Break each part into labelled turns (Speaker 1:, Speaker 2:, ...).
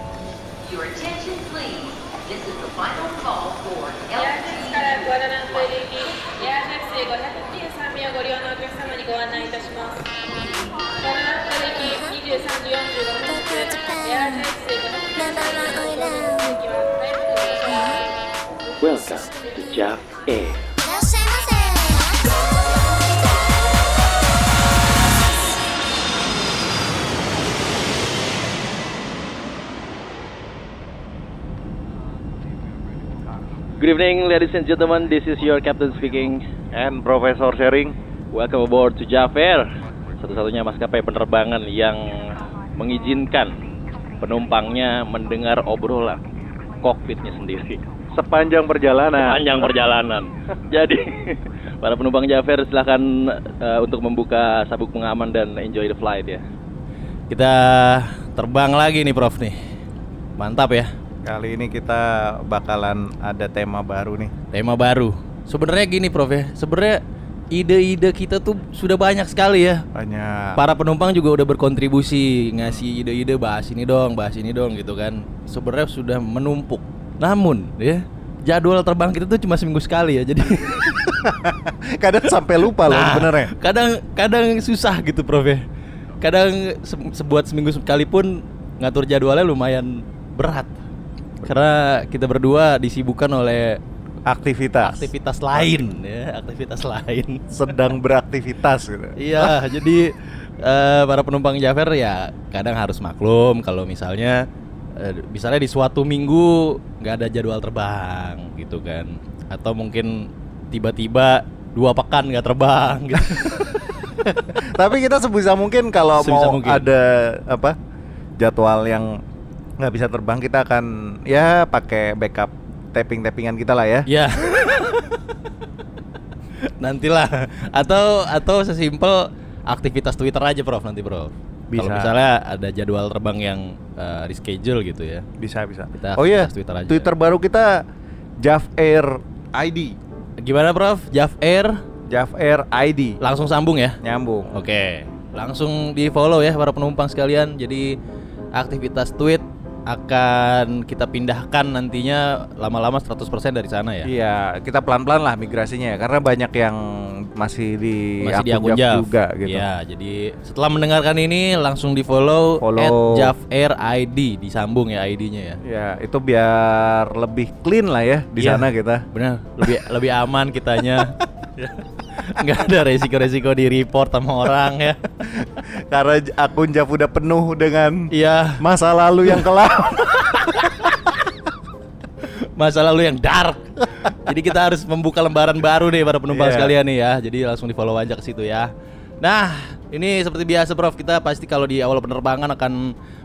Speaker 1: uh, ご利用のお客様にご案内いたします。ご覧の駅23時45分発、エアースイカの駅は早くご利用ください。
Speaker 2: Welcome to
Speaker 3: い
Speaker 2: Jap Air.
Speaker 3: らっしゃいま
Speaker 2: Good evening, ladies and gentlemen. This is your captain speaking.
Speaker 4: And Profesor Sharing
Speaker 2: Welcome aboard to Jap Air. Satu-satunya maskapai penerbangan yang mengizinkan penumpangnya mendengar obrolan kokpitnya sendiri
Speaker 4: sepanjang perjalanan.
Speaker 2: sepanjang perjalanan. Jadi para penumpang Jafer silahkan eh, untuk membuka sabuk pengaman dan enjoy the flight ya. Kita terbang lagi nih Prof nih. Mantap ya.
Speaker 4: Kali ini kita bakalan ada tema baru nih.
Speaker 2: tema baru. Sebenarnya gini Prof ya, sebenarnya ide-ide kita tuh sudah banyak sekali ya.
Speaker 4: Banyak.
Speaker 2: Para penumpang juga udah berkontribusi ngasih ide-ide bahas ini dong, bahas ini dong gitu kan. Sebenarnya sudah menumpuk. Namun ya jadwal terbang kita tuh cuma seminggu sekali ya. Jadi
Speaker 4: Kadang sampai lupa loh ya?
Speaker 2: Nah,
Speaker 4: sebenarnya.
Speaker 2: Kadang kadang susah gitu Prof ya. Kadang se- sebuat seminggu sekali pun ngatur jadwalnya lumayan berat. Karena kita berdua disibukkan oleh
Speaker 4: Aktivitas.
Speaker 2: aktivitas lain ya, aktivitas lain.
Speaker 4: Sedang beraktivitas gitu.
Speaker 2: Iya, jadi eh, para penumpang Jafer ya kadang harus maklum kalau misalnya eh, misalnya di suatu minggu nggak ada jadwal terbang gitu kan, atau mungkin tiba-tiba dua pekan nggak terbang gitu.
Speaker 4: Tapi kita sebisa mungkin kalau
Speaker 2: Sebisa
Speaker 4: mau
Speaker 2: mungkin.
Speaker 4: ada apa jadwal yang nggak bisa terbang kita akan ya pakai backup tapping-tappingan kita lah ya.
Speaker 2: ya. Nantilah atau atau sesimpel aktivitas Twitter aja Prof nanti Prof. Kalau
Speaker 4: Bisa.
Speaker 2: misalnya ada jadwal terbang yang eh, reschedule gitu ya.
Speaker 4: Bisa bisa.
Speaker 2: Kita
Speaker 4: oh iya.
Speaker 2: aktivitas Twitter aja.
Speaker 4: baru kita Jav Air ID.
Speaker 2: Gimana Prof? Jav Air
Speaker 4: Jav Air ID.
Speaker 2: langsung sambung ya.
Speaker 4: Nyambung.
Speaker 2: Oke, langsung di follow ya para penumpang sekalian. Jadi aktivitas tweet akan kita pindahkan nantinya lama-lama 100% dari sana ya.
Speaker 4: Iya, kita pelan-pelan lah migrasinya ya, karena banyak yang masih di
Speaker 2: Masih di akun
Speaker 4: akun Jav
Speaker 2: Jav.
Speaker 4: juga gitu.
Speaker 2: Iya, jadi setelah mendengarkan ini langsung di follow,
Speaker 4: Follow.
Speaker 2: @javair_id disambung ya ID-nya ya.
Speaker 4: Ya, itu biar lebih clean lah ya di
Speaker 2: Iya.
Speaker 4: sana kita.
Speaker 2: Benar, lebih lebih aman kitanya. Nggak ada resiko-resiko di report sama orang ya.
Speaker 4: Karena j- akun Jav udah penuh dengan
Speaker 2: Iya,
Speaker 4: masa lalu yang kelam.
Speaker 2: masa lalu yang dark. Jadi kita harus membuka lembaran baru nih para penumpang
Speaker 4: Iya.
Speaker 2: sekalian nih ya. Jadi langsung di follow aja ke situ ya. Nah, ini seperti biasa Prof, kita pasti kalau di awal penerbangan akan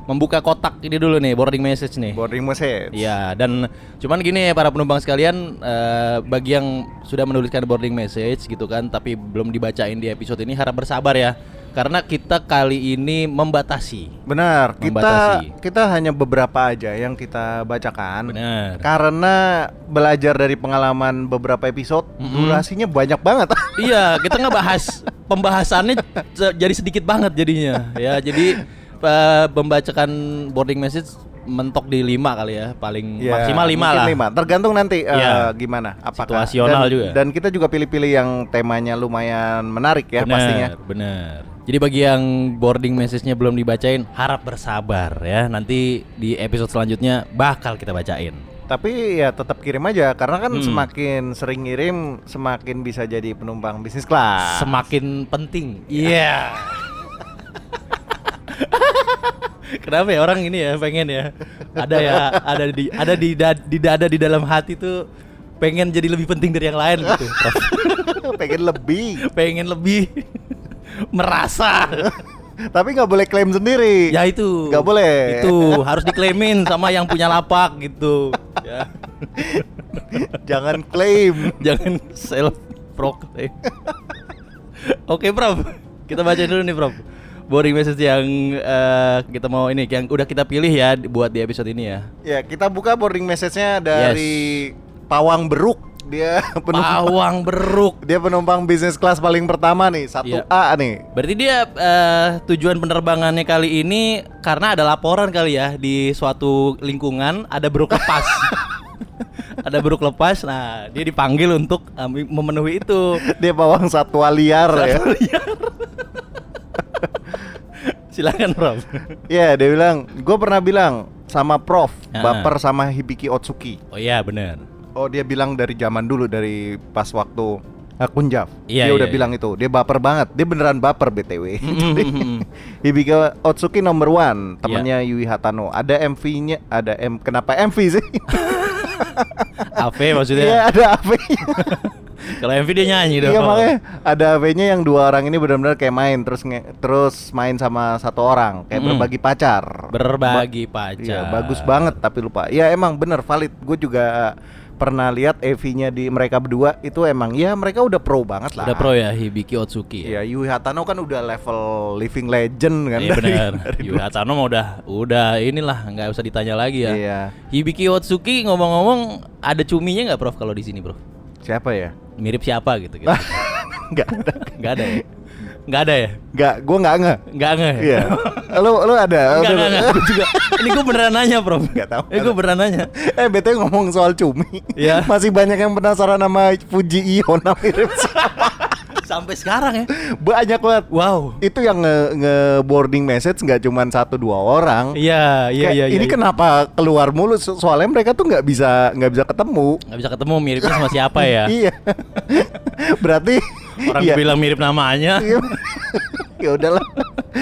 Speaker 2: membuka kotak ini dulu nih, boarding message nih.
Speaker 4: Boarding message.
Speaker 2: Iya, dan cuman gini ya, para penumpang sekalian, eh, bagi yang sudah menuliskan boarding message gitu kan, tapi belum dibacain di episode ini harap bersabar ya. Karena kita kali ini membatasi.
Speaker 4: Benar, kita
Speaker 2: Membatasi.
Speaker 4: kita hanya beberapa aja yang kita bacakan.
Speaker 2: Benar.
Speaker 4: Karena belajar dari pengalaman beberapa episode, durasinya banyak banget.
Speaker 2: Iya, kita ngebahas pembahasannya se- jadi sedikit banget jadinya. Ya, jadi eh, membacakan boarding message mentok di lima kali ya, paling
Speaker 4: Ya,
Speaker 2: maksimal lima
Speaker 4: mungkin
Speaker 2: lah.
Speaker 4: lima. Tergantung nanti eh,
Speaker 2: Ya.
Speaker 4: gimana. Apakah
Speaker 2: Situasional
Speaker 4: dan,
Speaker 2: juga.
Speaker 4: Dan kita juga pilih-pilih yang temanya lumayan menarik ya
Speaker 2: Bener,
Speaker 4: pastinya.
Speaker 2: Bener. Jadi bagi yang boarding message-nya belum dibacain, harap bersabar ya. Nanti di episode selanjutnya bakal kita bacain.
Speaker 4: Tapi ya tetap kirim aja karena kan
Speaker 2: Hmm.
Speaker 4: semakin sering ngirim semakin bisa jadi penumpang bisnis kelas.
Speaker 2: Semakin penting. Iya. Kenapa ya orang ini ya pengen ya ada ya ada di ada di da- di dada di dalam hati tuh pengen jadi lebih penting dari yang lain gitu.
Speaker 4: Pengen lebih.
Speaker 2: pengen lebih merasa.
Speaker 4: Tapi nggak boleh klaim sendiri.
Speaker 2: ya itu.
Speaker 4: Nggak boleh.
Speaker 2: Itu harus diklaimin sama yang punya lapak gitu. Ya.
Speaker 4: Jangan klaim.
Speaker 2: Jangan self proclaim. Oke, Prof. Kita baca dulu nih, Prof. Boring message yang eh, kita mau ini yang udah kita pilih ya di- buat di episode ini ya.
Speaker 4: ya kita buka boarding message-nya dari Pawang Beruk. Dia penumpang
Speaker 2: Pawang beruk.
Speaker 4: dia penumpang bisnis kelas paling pertama nih, 1A
Speaker 2: Iya.
Speaker 4: nih.
Speaker 2: Berarti dia eh, tujuan penerbangannya kali ini karena ada laporan kali ya di suatu lingkungan ada beruk lepas. ada ada buruk lepas nah dia dipanggil untuk eh, memenuhi itu
Speaker 4: Dia bawang satwa liar ya.
Speaker 2: silakan Rob
Speaker 4: Iya, dia bilang, gue pernah bilang sama Prof,
Speaker 2: Ah.
Speaker 4: baper sama Hibiki Otsuki.
Speaker 2: oh iya bener
Speaker 4: Oh, dia bilang dari zaman dulu dari pas waktu eh, Kunjaf.
Speaker 2: Iya,
Speaker 4: dia
Speaker 2: iya,
Speaker 4: udah
Speaker 2: iya.
Speaker 4: bilang itu. Dia baper banget. Dia beneran baper BTW.
Speaker 2: Mm-mm. Iya.
Speaker 4: Hibiki Otsuki nomor one, temannya Yui Hatano. Ada MV-nya, ada M kenapa MV sih?
Speaker 2: Ave maksudnya
Speaker 4: Iya, ada AV-nya.
Speaker 2: kalau MV dia nyanyi dong
Speaker 4: Iya makanya ada AV-nya yang dua orang ini benar-benar kayak main terus nge- terus main sama satu orang kayak
Speaker 2: Mm.
Speaker 4: berbagi pacar.
Speaker 2: berbagi pacar
Speaker 4: Iya, bagus banget tapi lupa. Ya emang bener valid. Gue juga eh, pernah lihat AV-nya di mereka berdua itu emang ya mereka udah pro banget lah.
Speaker 2: udah pro ya Hibiki Otsuki ya
Speaker 4: Ya Yui Hatano kan udah level living legend kan.
Speaker 2: Iya
Speaker 4: dari-
Speaker 2: benar.
Speaker 4: dari
Speaker 2: Yui
Speaker 4: dulu.
Speaker 2: Hatano mah udah udah inilah nggak usah ditanya lagi ya.
Speaker 4: Iya.
Speaker 2: Hibiki Otsuki ngomong-ngomong ada cuminya nggak Prof kalau di sini Prof?
Speaker 4: Siapa ya?
Speaker 2: Mirip siapa gitu gitu.
Speaker 4: Enggak ada.
Speaker 2: Enggak ada ya? Enggak ada ya?
Speaker 4: Enggak, gua enggak nge.
Speaker 2: Enggak enggak.
Speaker 4: Iya. Lu lu ada?
Speaker 2: Enggak
Speaker 4: Lu-
Speaker 2: enggak enggak. Gua juga. Ini gue beneran nanya, Prof.
Speaker 4: Nggak tahu.
Speaker 2: Ini gue beneran nanya.
Speaker 4: Eh BTW ngomong soal cumi
Speaker 2: Iya.
Speaker 4: Masih banyak yang penasaran sama Fuji Iona mirip
Speaker 2: Sampai sekarang ya.
Speaker 4: Banyak banget
Speaker 2: Wow.
Speaker 4: Itu yang nge, nge boarding message nggak cuma satu dua orang
Speaker 2: Iya, iya,
Speaker 4: Kayak,
Speaker 2: iya.
Speaker 4: Ini kenapa keluar mulu So- Soalnya mereka tuh nggak bisa nggak bisa ketemu
Speaker 2: Gak bisa ketemu miripnya sama siapa ya?
Speaker 4: Iya Berarti
Speaker 2: Orang
Speaker 4: iya.
Speaker 2: bilang mirip namanya.
Speaker 4: Iya. Ya udahlah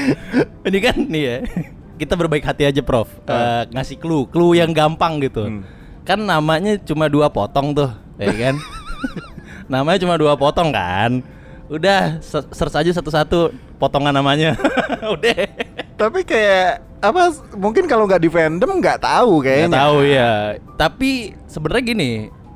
Speaker 2: Ini kan nih ya. Kita berbaik hati aja, Prof. Eh, ngasih clue, clue yang gampang gitu.
Speaker 4: Ah. Hmm.
Speaker 2: Kan namanya cuma dua potong tuh, ya kan? namanya cuma dua potong kan. Udah, se- search aja satu-satu potongan namanya. Udah.
Speaker 4: Tapi kayak apa mungkin kalau nggak di fandom nggak tahu
Speaker 2: Nggak
Speaker 4: kayaknya
Speaker 2: tahu ya. Tapi sebenarnya gini,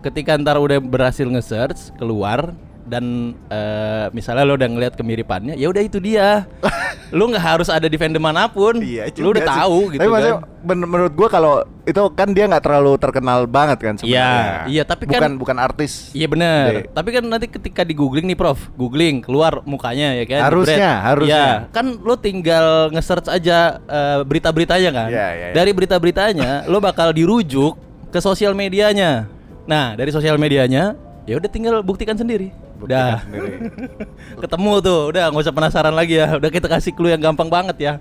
Speaker 2: ketika ntar udah berhasil nge-search keluar dan eh, misalnya lo udah ngelihat kemiripannya, ya udah itu dia. lo nggak harus ada di fandom manapun.
Speaker 4: Iya,
Speaker 2: lo udah
Speaker 4: juga sih.
Speaker 2: tahu gitu
Speaker 4: Tapi
Speaker 2: kan.
Speaker 4: maksudnya men- menurut gua kalau itu kan dia nggak terlalu terkenal banget kan
Speaker 2: Iya,
Speaker 4: sebenarnya.
Speaker 2: iya, tapi
Speaker 4: bukan,
Speaker 2: kan-
Speaker 4: bukan artis.
Speaker 2: Iya benar.
Speaker 4: Dek.
Speaker 2: Tapi kan nanti ketika di googling nih Prof, googling keluar mukanya ya kan.
Speaker 4: Harusnya,
Speaker 2: jebret.
Speaker 4: harusnya.
Speaker 2: Iya, kan lo tinggal nge-search aja eh, berita-beritanya kan.
Speaker 4: Iya, iya, iya.
Speaker 2: Dari berita-beritanya lo bakal dirujuk ke sosial medianya. Nah, dari sosial medianya ya udah tinggal buktikan sendiri.
Speaker 4: Buktikan
Speaker 2: udah.
Speaker 4: sendiri.
Speaker 2: Ketemu tuh, udah nggak usah penasaran lagi ya. Udah kita kasih clue yang gampang banget ya.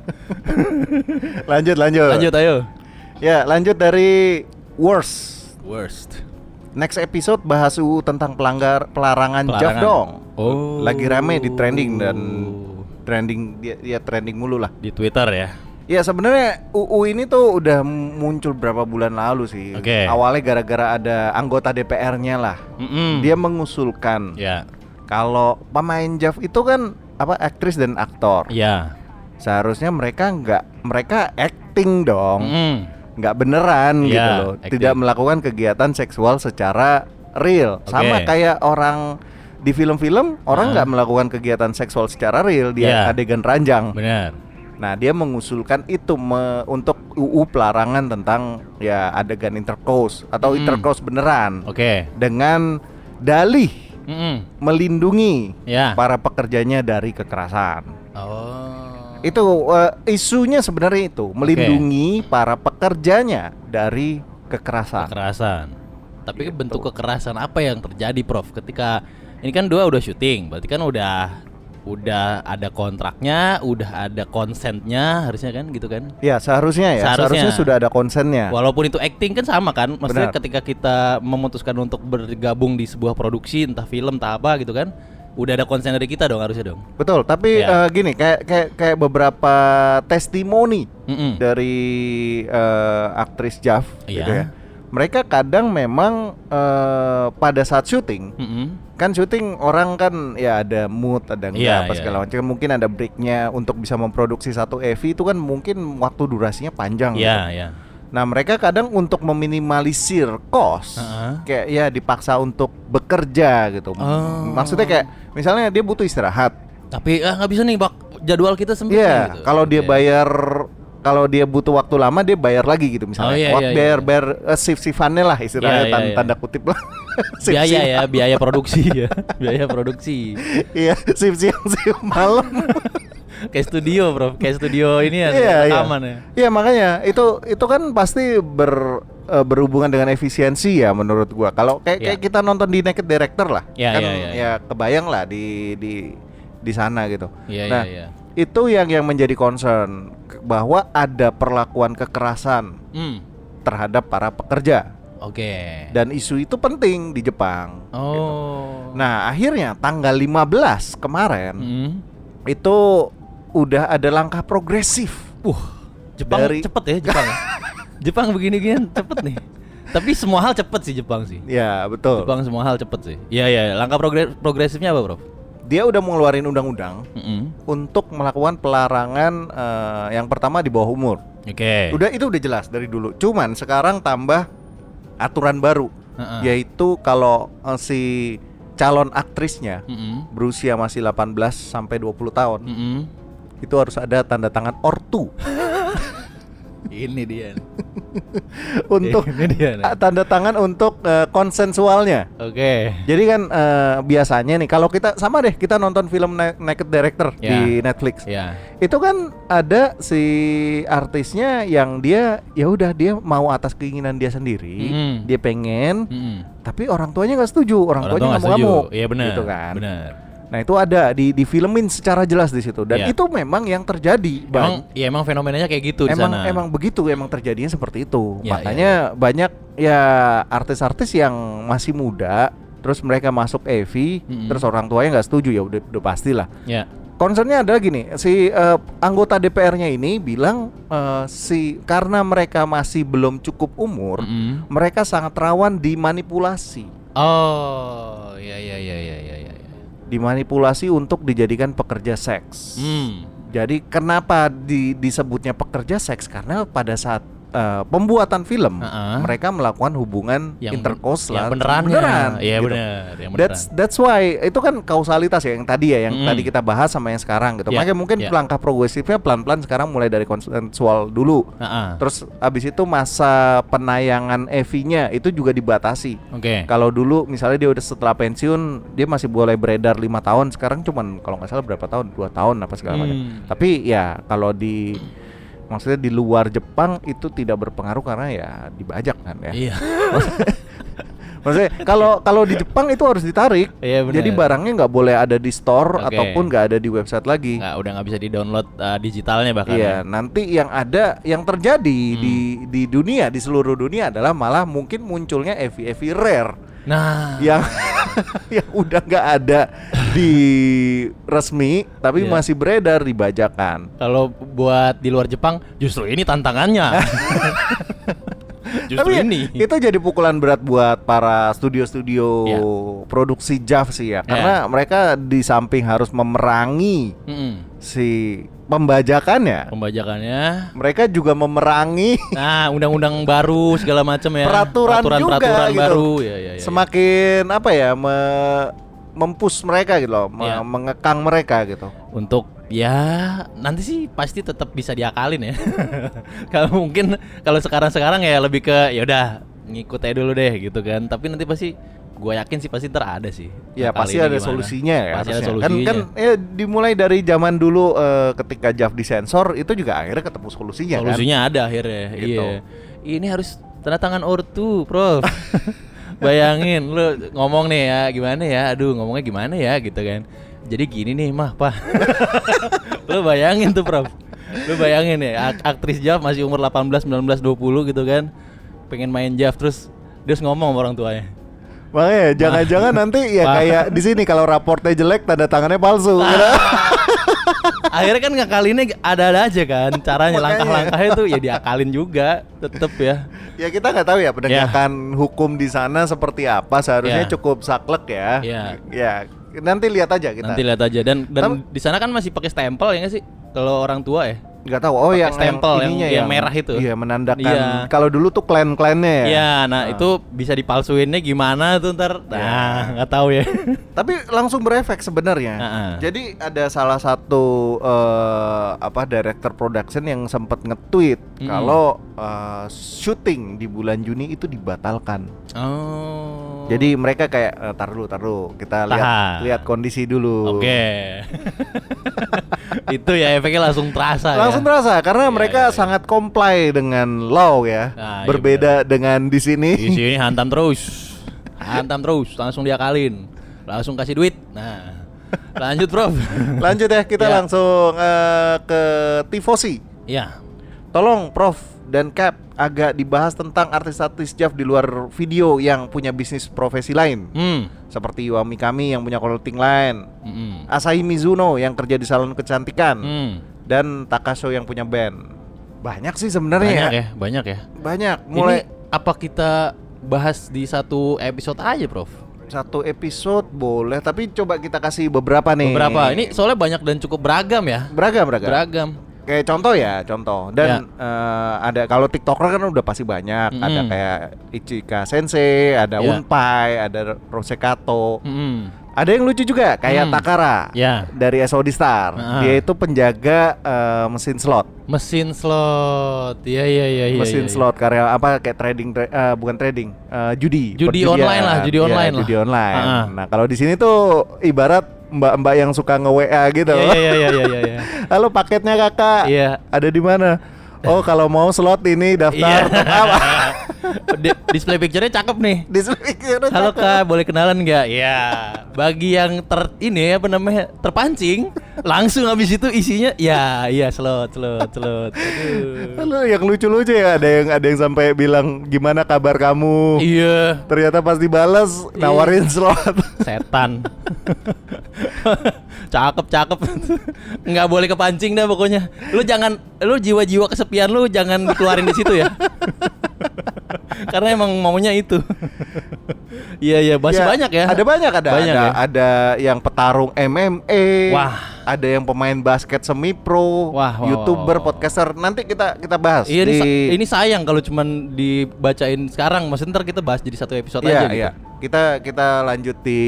Speaker 4: lanjut, lanjut.
Speaker 2: Lanjut ayo.
Speaker 4: Ya, lanjut dari worst.
Speaker 2: Worst.
Speaker 4: Next episode bahas UU tentang pelanggar pelarangan,
Speaker 2: Pelarangan.
Speaker 4: Jav dong.
Speaker 2: Oh.
Speaker 4: Lagi rame di trending dan trending dia, dia trending mulu lah.
Speaker 2: Di Twitter ya.
Speaker 4: Ya sebenarnya UU ini tuh udah muncul berapa bulan lalu sih.
Speaker 2: Oke.
Speaker 4: Awalnya gara-gara ada anggota DPR-nya lah.
Speaker 2: Mm-mm.
Speaker 4: Dia mengusulkan
Speaker 2: Hmm. Ya.
Speaker 4: Kalau pemain Jav itu kan apa aktris dan aktor.
Speaker 2: Ya.
Speaker 4: Seharusnya mereka nggak mereka acting dong.
Speaker 2: Mm.
Speaker 4: Nggak beneran gitu
Speaker 2: Iya,
Speaker 4: loh.
Speaker 2: acting.
Speaker 4: Tidak melakukan kegiatan seksual secara real.
Speaker 2: Oke.
Speaker 4: Sama kayak orang di film-film orang nggak melakukan kegiatan seksual secara real dia
Speaker 2: Iya.
Speaker 4: adegan ranjang.
Speaker 2: Benar.
Speaker 4: Nah, dia mengusulkan itu me- untuk UU pelarangan tentang ya adegan intercourse atau
Speaker 2: Mm.
Speaker 4: intercourse beneran
Speaker 2: Oke.
Speaker 4: dengan dalih
Speaker 2: Mm-mm.
Speaker 4: melindungi
Speaker 2: Ya.
Speaker 4: para pekerjanya dari kekerasan.
Speaker 2: Oh.
Speaker 4: Itu eh, isunya sebenarnya itu melindungi para pekerjanya dari kekerasan.
Speaker 2: kekerasan.
Speaker 4: Iya,
Speaker 2: Tapi bentuk kekerasan apa yang terjadi, Prof? Ketika ini kan dua udah syuting, berarti kan udah udah ada kontraknya, udah ada konsennya harusnya kan gitu kan?
Speaker 4: Ya seharusnya ya
Speaker 2: Seharusnya.
Speaker 4: seharusnya, sudah ada konsennya.
Speaker 2: Walaupun itu acting kan sama kan, maksudnya
Speaker 4: Ya. Benar.
Speaker 2: ketika kita memutuskan untuk bergabung di sebuah produksi, entah film, entah apa gitu kan, udah ada konsen dari kita dong harusnya dong.
Speaker 4: Betul. Tapi
Speaker 2: Ya.
Speaker 4: eh, gini kayak kayak kayak beberapa testimoni
Speaker 2: Mm-mm.
Speaker 4: dari eh, aktris Jav,
Speaker 2: Iya.
Speaker 4: gitu ya. Mereka kadang memang eh, pada saat syuting
Speaker 2: Mm-mm.
Speaker 4: kan syuting orang kan ya ada mood ada enggak
Speaker 2: Iya,
Speaker 4: apa
Speaker 2: iya.
Speaker 4: segala macam mungkin ada breaknya untuk bisa memproduksi satu EV itu kan mungkin waktu durasinya panjang
Speaker 2: Iya,
Speaker 4: gitu.
Speaker 2: iya.
Speaker 4: nah mereka kadang untuk meminimalisir cost
Speaker 2: Heeh.
Speaker 4: kayak ya dipaksa untuk bekerja gitu
Speaker 2: Oh.
Speaker 4: maksudnya kayak misalnya dia butuh istirahat
Speaker 2: Tapi ah nggak bisa nih, Bak. Jadwal kita sempit nih,
Speaker 4: Iya,
Speaker 2: gitu.
Speaker 4: kalau dia
Speaker 2: Oke.
Speaker 4: bayar kalau dia butuh waktu lama dia bayar lagi gitu misalnya.
Speaker 2: Oh, iya,
Speaker 4: Wak-
Speaker 2: iya,
Speaker 4: bayar
Speaker 2: iya.
Speaker 4: bayar eh, shift-shiftannya lah istilahnya
Speaker 2: Iya, iya,
Speaker 4: tan-
Speaker 2: iya.
Speaker 4: tanda kutip lah.
Speaker 2: biaya
Speaker 4: Shift-shift.
Speaker 2: ya, biaya produksi ya, biaya produksi.
Speaker 4: Iya, shift siang shift malam.
Speaker 2: Kayak studio, Bro. Kayak studio ini ya,
Speaker 4: Iya, iya.
Speaker 2: rekaman ya.
Speaker 4: Iya makanya itu itu kan pasti ber eh, berhubungan dengan efisiensi ya menurut gua. Kalau kayak kayak
Speaker 2: Ya.
Speaker 4: kita nonton di Naked Director lah,
Speaker 2: Ya,
Speaker 4: kan
Speaker 2: ya, ya, ya.
Speaker 4: kebayang lah di di di sana gitu.
Speaker 2: Iya,
Speaker 4: nah,
Speaker 2: iya, iya.
Speaker 4: itu yang yang menjadi concern ke- bahwa ada perlakuan kekerasan
Speaker 2: Hmm.
Speaker 4: terhadap para pekerja
Speaker 2: Oke.
Speaker 4: dan isu itu penting di Jepang. gitu.
Speaker 2: Oh.
Speaker 4: Nah, akhirnya tanggal 15 kemarin
Speaker 2: Hmm.
Speaker 4: itu udah ada langkah progresif.
Speaker 2: Uh, Jepang
Speaker 4: Dari-
Speaker 2: cepet ya Jepang. ya. Jepang begini gini cepet nih. Tapi semua hal cepet sih Jepang sih.
Speaker 4: Ya, betul.
Speaker 2: Jepang semua hal cepet sih. Iya iya. Langkah progre- progresifnya apa bro? Hmm,
Speaker 4: Dia udah mau ngeluarin undang-undang
Speaker 2: Mm-mm.
Speaker 4: untuk melakukan pelarangan eh, yang pertama di bawah umur.
Speaker 2: Oke.
Speaker 4: Udah itu udah jelas dari dulu. Cuman sekarang tambah aturan baru
Speaker 2: Heeh.
Speaker 4: yaitu kalau eh, si calon aktrisnya
Speaker 2: Mm-mm.
Speaker 4: berusia masih 18 sampai 20 tahun
Speaker 2: Mm-mm. Hmm.
Speaker 4: itu harus ada tanda tangan ortu
Speaker 2: Ini dia. nih.
Speaker 4: untuk
Speaker 2: Ini dia. nih.
Speaker 4: ah, tanda tangan untuk eh, konsensualnya.
Speaker 2: Oke.
Speaker 4: Jadi kan eh, biasanya nih kalau kita sama deh kita nonton film Na- Naked Director
Speaker 2: Ya.
Speaker 4: di Netflix.
Speaker 2: Ya.
Speaker 4: Itu kan ada si artisnya yang dia ya udah dia mau atas keinginan dia sendiri,
Speaker 2: Mm.
Speaker 4: dia pengen,
Speaker 2: Mm-mm.
Speaker 4: tapi orang tuanya nggak setuju, orang,
Speaker 2: hmm. Orang tua
Speaker 4: tuanya
Speaker 2: nggak
Speaker 4: nggak
Speaker 2: setuju.
Speaker 4: mau
Speaker 2: Iya benar.
Speaker 4: Gitu kan.
Speaker 2: Benar.
Speaker 4: Nah itu ada di difilmin secara jelas di situ dan
Speaker 2: Ya.
Speaker 4: itu memang yang
Speaker 2: Emang,
Speaker 4: terjadi. Bang.
Speaker 2: ya emang fenomenanya kayak gitu di
Speaker 4: emang
Speaker 2: sana.
Speaker 4: emang begitu emang terjadinya seperti itu
Speaker 2: Ya,
Speaker 4: makanya banyak ya artis-artis yang masih muda terus mereka masuk EV
Speaker 2: Mm-mm.
Speaker 4: terus orang tuanya nggak setuju ya udah udah pastilah
Speaker 2: Ya.
Speaker 4: concernnya adalah gini si eh, anggota DPR-nya ini bilang eh, si karena mereka masih belum cukup umur
Speaker 2: Mm-mm.
Speaker 4: mereka sangat rawan dimanipulasi
Speaker 2: Oh, ya ya ya ya ya ya. ya.
Speaker 4: dimanipulasi untuk dijadikan pekerja seks
Speaker 2: Hmm.
Speaker 4: Jadi kenapa di- disebutnya pekerja seks? Karena pada saat eh, pembuatan film
Speaker 2: Heeh.
Speaker 4: mereka melakukan hubungan intercourse lah,
Speaker 2: yang beneran
Speaker 4: beneran,
Speaker 2: Iya
Speaker 4: gitu.
Speaker 2: benar, yang beneran.
Speaker 4: That's that's why itu kan kausalitas ya yang tadi ya yang
Speaker 2: Mm.
Speaker 4: tadi kita bahas sama yang sekarang gitu.
Speaker 2: Ya,
Speaker 4: Makanya mungkin
Speaker 2: ya.
Speaker 4: langkah progresifnya pelan-pelan sekarang mulai dari konsensual dulu.
Speaker 2: Heeh.
Speaker 4: Terus abis itu masa penayangan EV-nya itu juga dibatasi.
Speaker 2: Oke.
Speaker 4: Kalau dulu misalnya dia udah setelah pensiun dia masih boleh beredar lima tahun sekarang cuman kalau nggak salah berapa tahun dua tahun apa segala macam.
Speaker 2: Hmm.
Speaker 4: Tapi ya kalau di maksudnya di luar Jepang itu tidak berpengaruh karena ya dibajak kan
Speaker 2: Iya.
Speaker 4: ya. Maksudnya kalau kalau di Jepang itu harus ditarik.
Speaker 2: Iya, benar.
Speaker 4: Jadi barangnya nggak boleh ada di store
Speaker 2: Oke.
Speaker 4: ataupun nggak ada di website lagi.
Speaker 2: Nggak, udah nggak bisa di-download uh, digitalnya bahkan.
Speaker 4: Iya, nanti yang ada yang terjadi di
Speaker 2: Hmm.
Speaker 4: di dunia di seluruh dunia adalah malah mungkin munculnya EV-EV rare
Speaker 2: Nah.
Speaker 4: yang yang udah nggak ada di resmi tapi
Speaker 2: Iya.
Speaker 4: masih beredar dibajakan.
Speaker 2: Kalau buat di luar Jepang justru ini tantangannya. justru
Speaker 4: Tapi ya,
Speaker 2: ini.
Speaker 4: itu jadi pukulan berat buat para studio-studio
Speaker 2: Ya.
Speaker 4: produksi JAV sih
Speaker 2: Iya.
Speaker 4: ya, karena mereka di samping harus memerangi
Speaker 2: Mm-mm.
Speaker 4: si pembajakannya,
Speaker 2: Pembajakannya.
Speaker 4: mereka juga memerangi
Speaker 2: Nah, undang-undang baru segala macam ya.
Speaker 4: peraturan, juga
Speaker 2: peraturan
Speaker 4: gitu.
Speaker 2: baru ya ya ya.
Speaker 4: Semakin apa ya me mempus mereka gitu loh, me-
Speaker 2: Ya.
Speaker 4: mengekang mereka gitu.
Speaker 2: untuk ya nanti sih pasti tetap bisa diakalin ya. kalau mungkin kalau sekarang-sekarang ya lebih ke ya udah ngikut aja dulu deh gitu kan. Tapi nanti pasti gue yakin sih pasti ntar ada sih.
Speaker 4: Ya
Speaker 2: Kali
Speaker 4: pasti
Speaker 2: ini
Speaker 4: ada
Speaker 2: gimana.
Speaker 4: solusinya ya.
Speaker 2: Pasti ada
Speaker 4: harusnya.
Speaker 2: solusinya.
Speaker 4: Kan kan ya, dimulai dari zaman dulu eh, ketika JAV disensor itu juga akhirnya ketemu solusinya kan.
Speaker 2: solusinya ada akhirnya.
Speaker 4: Gitu.
Speaker 2: Iya. Ini harus tanda tangan ortu, Prof. Bayangin lu ngomong nih ya gimana ya? Aduh, ngomongnya gimana ya gitu kan. Jadi gini nih, mah, Pak. lu bayangin tuh, Prof. Lu bayangin ya, ak- aktris Jav masih umur 18, 19, 20 gitu kan. Pengen main Jav terus dia harus ngomong sama orang tuanya.
Speaker 4: Makanya jangan-jangan
Speaker 2: Nah.
Speaker 4: nanti ya
Speaker 2: Wah.
Speaker 4: kayak di sini kalau raportnya jelek tanda tangannya palsu.
Speaker 2: Nah.
Speaker 4: gitu.
Speaker 2: Akhirnya kan ngakalinnya ada-ada aja kan caranya langkah-langkahnya tuh ya diakalin juga tetep ya.
Speaker 4: ya kita nggak tahu ya penegakan hukum di sana seperti apa. Seharusnya
Speaker 2: Ya.
Speaker 4: cukup saklek ya.
Speaker 2: Ya.
Speaker 4: Ya nanti lihat aja kita.
Speaker 2: Nanti lihat aja dan dan
Speaker 4: Tapi-
Speaker 2: di sana kan masih pakai stempel ya nggak sih? Kalau orang tua ya.
Speaker 4: nggak tahu. Oh
Speaker 2: Pakai
Speaker 4: yang
Speaker 2: stempel yang-
Speaker 4: ininya
Speaker 2: yang merah itu.
Speaker 4: Iya menandakan.
Speaker 2: Iya.
Speaker 4: Kalau dulu tuh klan-klannya ya.
Speaker 2: Iya, nah itu bisa dipalsuinnya gimana tuh ntar?
Speaker 4: Iya.
Speaker 2: Nah, nggak tahu ya.
Speaker 4: Tapi langsung berefek sebenarnya.
Speaker 2: Heeh.
Speaker 4: Jadi ada salah satu eh, apa director production yang sempat nge-tweet
Speaker 2: Mm.
Speaker 4: kalau eh, syuting di bulan Juni itu dibatalkan.
Speaker 2: Oh.
Speaker 4: Jadi mereka kayak eh, tar dulu, tar dulu. Kita lihat
Speaker 2: Tahan.
Speaker 4: lihat kondisi dulu.
Speaker 2: Oke. Itu ya efeknya langsung terasa ya.
Speaker 4: Langsung terasa karena
Speaker 2: Iya,
Speaker 4: mereka
Speaker 2: iya, iya.
Speaker 4: sangat comply dengan law ya.
Speaker 2: Nah, iya
Speaker 4: Berbeda dengan di sini.
Speaker 2: Di sini hantam terus. Hantam terus, langsung diakalin. Langsung kasih duit. Nah. Lanjut, Prof.
Speaker 4: Lanjut ya kita
Speaker 2: Iya.
Speaker 4: langsung eh, ke tifosi.
Speaker 2: Ya.
Speaker 4: Tolong Prof dan Cap agak dibahas tentang artis-artis Jav di luar video yang punya bisnis profesi lain.
Speaker 2: Hmm.
Speaker 4: Seperti Wami kami yang punya clothing line,
Speaker 2: Mm-mm.
Speaker 4: Asahi Mizuno yang kerja di salon kecantikan,
Speaker 2: Hmm.
Speaker 4: dan Takaso yang punya band. Banyak sih sebenarnya
Speaker 2: Banyak
Speaker 4: ya.
Speaker 2: ya, banyak ya.
Speaker 4: Banyak. Mulai
Speaker 2: Ini apa kita bahas di satu episode aja, Prof?
Speaker 4: satu episode boleh, tapi coba kita kasih beberapa nih.
Speaker 2: Beberapa? Ini soalnya banyak dan cukup beragam ya.
Speaker 4: beragam beragam.
Speaker 2: Beragam.
Speaker 4: kayak contoh ya, contoh. Dan eh, ada kalau TikToker kan udah pasti banyak. Ada
Speaker 2: Mm-mm.
Speaker 4: kayak Ichika Sensei, ada
Speaker 2: Iya.
Speaker 4: Unpai, ada Rosekato.
Speaker 2: Hmm.
Speaker 4: Ada yang lucu juga kayak
Speaker 2: Hmm.
Speaker 4: Takara
Speaker 2: Ya.
Speaker 4: dari SOD Star.
Speaker 2: Ah.
Speaker 4: Dia itu penjaga eh, mesin slot.
Speaker 2: Mesin slot. Iya, iya, iya, iya.
Speaker 4: mesin
Speaker 2: iya, iya.
Speaker 4: slot karya apa kayak trading tra- eh, bukan trading eh, judi
Speaker 2: Judi
Speaker 4: perjudian.
Speaker 2: online lah, judi
Speaker 4: Iya,
Speaker 2: online lah.
Speaker 4: judi online
Speaker 2: Ah, ah.
Speaker 4: nah kalau di sini tuh ibarat mbak-mbak yang suka nge WA gitu
Speaker 2: Iya, iya, iya, iya, iya, iya.
Speaker 4: halo paketnya kakak
Speaker 2: Iya.
Speaker 4: ada di mana oh kalau mau slot ini
Speaker 2: Iya.
Speaker 4: daftar top up
Speaker 2: Di- display picture-nya cakep nih.
Speaker 4: di speaker
Speaker 2: Halo Kak, boleh kenalan nggak? Ya, bagi yang ter ini ya, apa namanya terpancing, langsung habis itu isinya ya, iya slot, slot, slot. Aduh.
Speaker 4: Halo, yang lucu-lucu ya ada yang ada yang sampai bilang gimana kabar kamu
Speaker 2: Iya,
Speaker 4: ternyata pas dibalas
Speaker 2: Iya.
Speaker 4: nawarin slot
Speaker 2: setan. cakep, cakep. Nggak boleh kepancing dah pokoknya. Lu jangan, lu jiwa-jiwa kesepian lu jangan dikeluarin di situ ya. Karena emang maunya itu. Iya, iya, masih
Speaker 4: Ya,
Speaker 2: banyak ya.
Speaker 4: Ada banyak ada
Speaker 2: Banyak
Speaker 4: ada,
Speaker 2: ya?
Speaker 4: ada yang petarung MMA.
Speaker 2: Wah.
Speaker 4: Ada yang pemain basket semi pro,
Speaker 2: Wah, wah, wah,
Speaker 4: YouTuber,
Speaker 2: wah.
Speaker 4: podcaster. Nanti kita kita bahas
Speaker 2: Iya ini,
Speaker 4: di
Speaker 2: sa- ini sayang kalau cuman dibacain sekarang. Maksudnya ntar kita bahas jadi satu episode
Speaker 4: Iya,
Speaker 2: aja gitu.
Speaker 4: iya. Kita kita lanjut di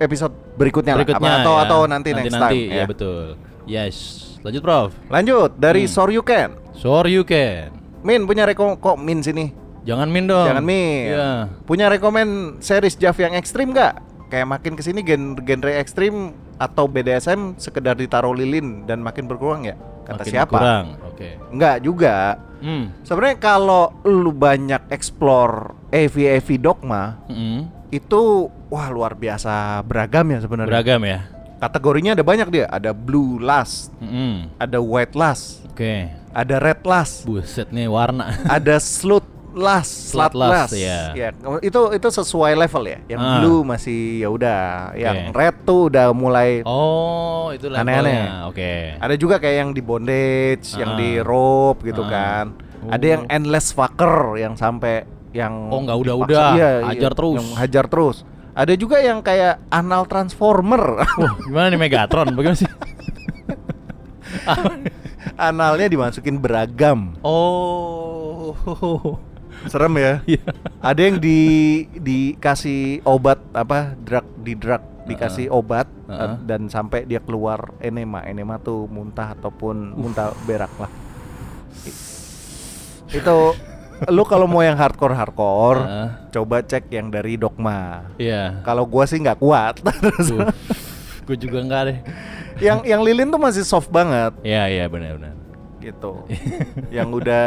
Speaker 4: episode berikutnya, lah. Apa-
Speaker 2: Berikutnya
Speaker 4: atau
Speaker 2: ya.
Speaker 4: atau nanti, next
Speaker 2: nanti,
Speaker 4: time
Speaker 2: Ya.
Speaker 4: ya.
Speaker 2: betul. Yes. Lanjut Prof.
Speaker 4: Lanjut dari
Speaker 2: Hmm.
Speaker 4: Soryuken.
Speaker 2: Sorry you can.
Speaker 4: Min punya rekom kok Min sini.
Speaker 2: Jangan min dong.
Speaker 4: Jangan Min.
Speaker 2: Iya.
Speaker 4: Punya rekomen series Jav yang ekstrim nggak? Kayak makin kesini gen- genre ekstrim atau BDSM sekedar ditaruh lilin dan makin berkurang ya? Kata
Speaker 2: Makin
Speaker 4: siapa?
Speaker 2: Kurang. Oke.
Speaker 4: Nggak juga.
Speaker 2: Hmm.
Speaker 4: Sebenarnya kalau lu banyak explore AV-AV dogma
Speaker 2: Mm-mm.
Speaker 4: itu wah luar biasa beragam ya sebenarnya.
Speaker 2: Beragam ya.
Speaker 4: Kategorinya ada banyak dia, ada blue lust,
Speaker 2: Mm-mm.
Speaker 4: ada white lust,
Speaker 2: Oke.
Speaker 4: ada red lust,
Speaker 2: Buset nih warna.
Speaker 4: ada slut lust,
Speaker 2: Slut
Speaker 4: slut
Speaker 2: lust,
Speaker 4: lust.
Speaker 2: ya.
Speaker 4: Ya, itu itu sesuai level ya. Yang
Speaker 2: Ah.
Speaker 4: blue masih ya udah, yang red tuh udah mulai
Speaker 2: oh, itu levelnya.
Speaker 4: Aneh-aneh.
Speaker 2: Oke.
Speaker 4: ada juga kayak yang di bondage, yang
Speaker 2: Ah.
Speaker 4: di rope gitu
Speaker 2: Ah.
Speaker 4: kan. Ada
Speaker 2: Oh.
Speaker 4: yang endless fucker yang sampai yang
Speaker 2: Oh, nggak
Speaker 4: dipaksa-
Speaker 2: udah-udah,
Speaker 4: iya,
Speaker 2: hajar
Speaker 4: iya,
Speaker 2: terus.
Speaker 4: Yang hajar terus. Ada juga yang kayak anal transformer.
Speaker 2: Wah, gimana nih Megatron? Bagaimana sih?
Speaker 4: Analnya dimasukin beragam.
Speaker 2: Oh.
Speaker 4: Serem ya.
Speaker 2: Iya.
Speaker 4: Ada yang di dikasih obat apa? drug di drug dikasih obat
Speaker 2: Uh-uh.
Speaker 4: eh, dan sampai dia keluar enema. Enema tuh muntah ataupun muntah berak lah. I- Itu lu kalau mau yang hardcore hardcore,
Speaker 2: Uh-uh.
Speaker 4: coba cek yang dari dogma.
Speaker 2: Iya.
Speaker 4: Kalau gua sih nggak kuat. Terus
Speaker 2: Uh. Gue juga enggak deh.
Speaker 4: yang yang lilin tuh masih soft banget
Speaker 2: Iya, iya benar-benar.
Speaker 4: gitu. yang udah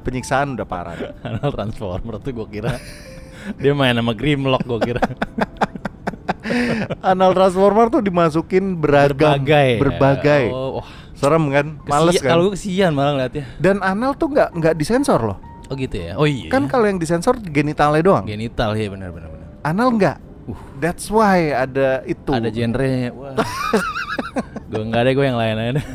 Speaker 4: penyiksaan udah parah. deh.
Speaker 2: Karena Transformer tuh gue kira dia main sama Grimlock gue kira.
Speaker 4: Anal transformer tuh dimasukin beragam,
Speaker 2: Berbagai.
Speaker 4: berbagai.
Speaker 2: ya. Oh, wah.
Speaker 4: Serem kan? Males
Speaker 2: Kesia-
Speaker 4: kan?
Speaker 2: Kalau gue kesian malah ngeliatnya.
Speaker 4: Dan anal tuh nggak nggak disensor loh.
Speaker 2: Oh gitu ya. Oh iya.
Speaker 4: Kan kalau yang disensor genitalnya doang.
Speaker 2: genital ya benar benar benar.
Speaker 4: Anal nggak.
Speaker 2: Uh.
Speaker 4: That's why ada itu.
Speaker 2: Ada genre. Wah. gue enggak deh gue yang lain aja. deh.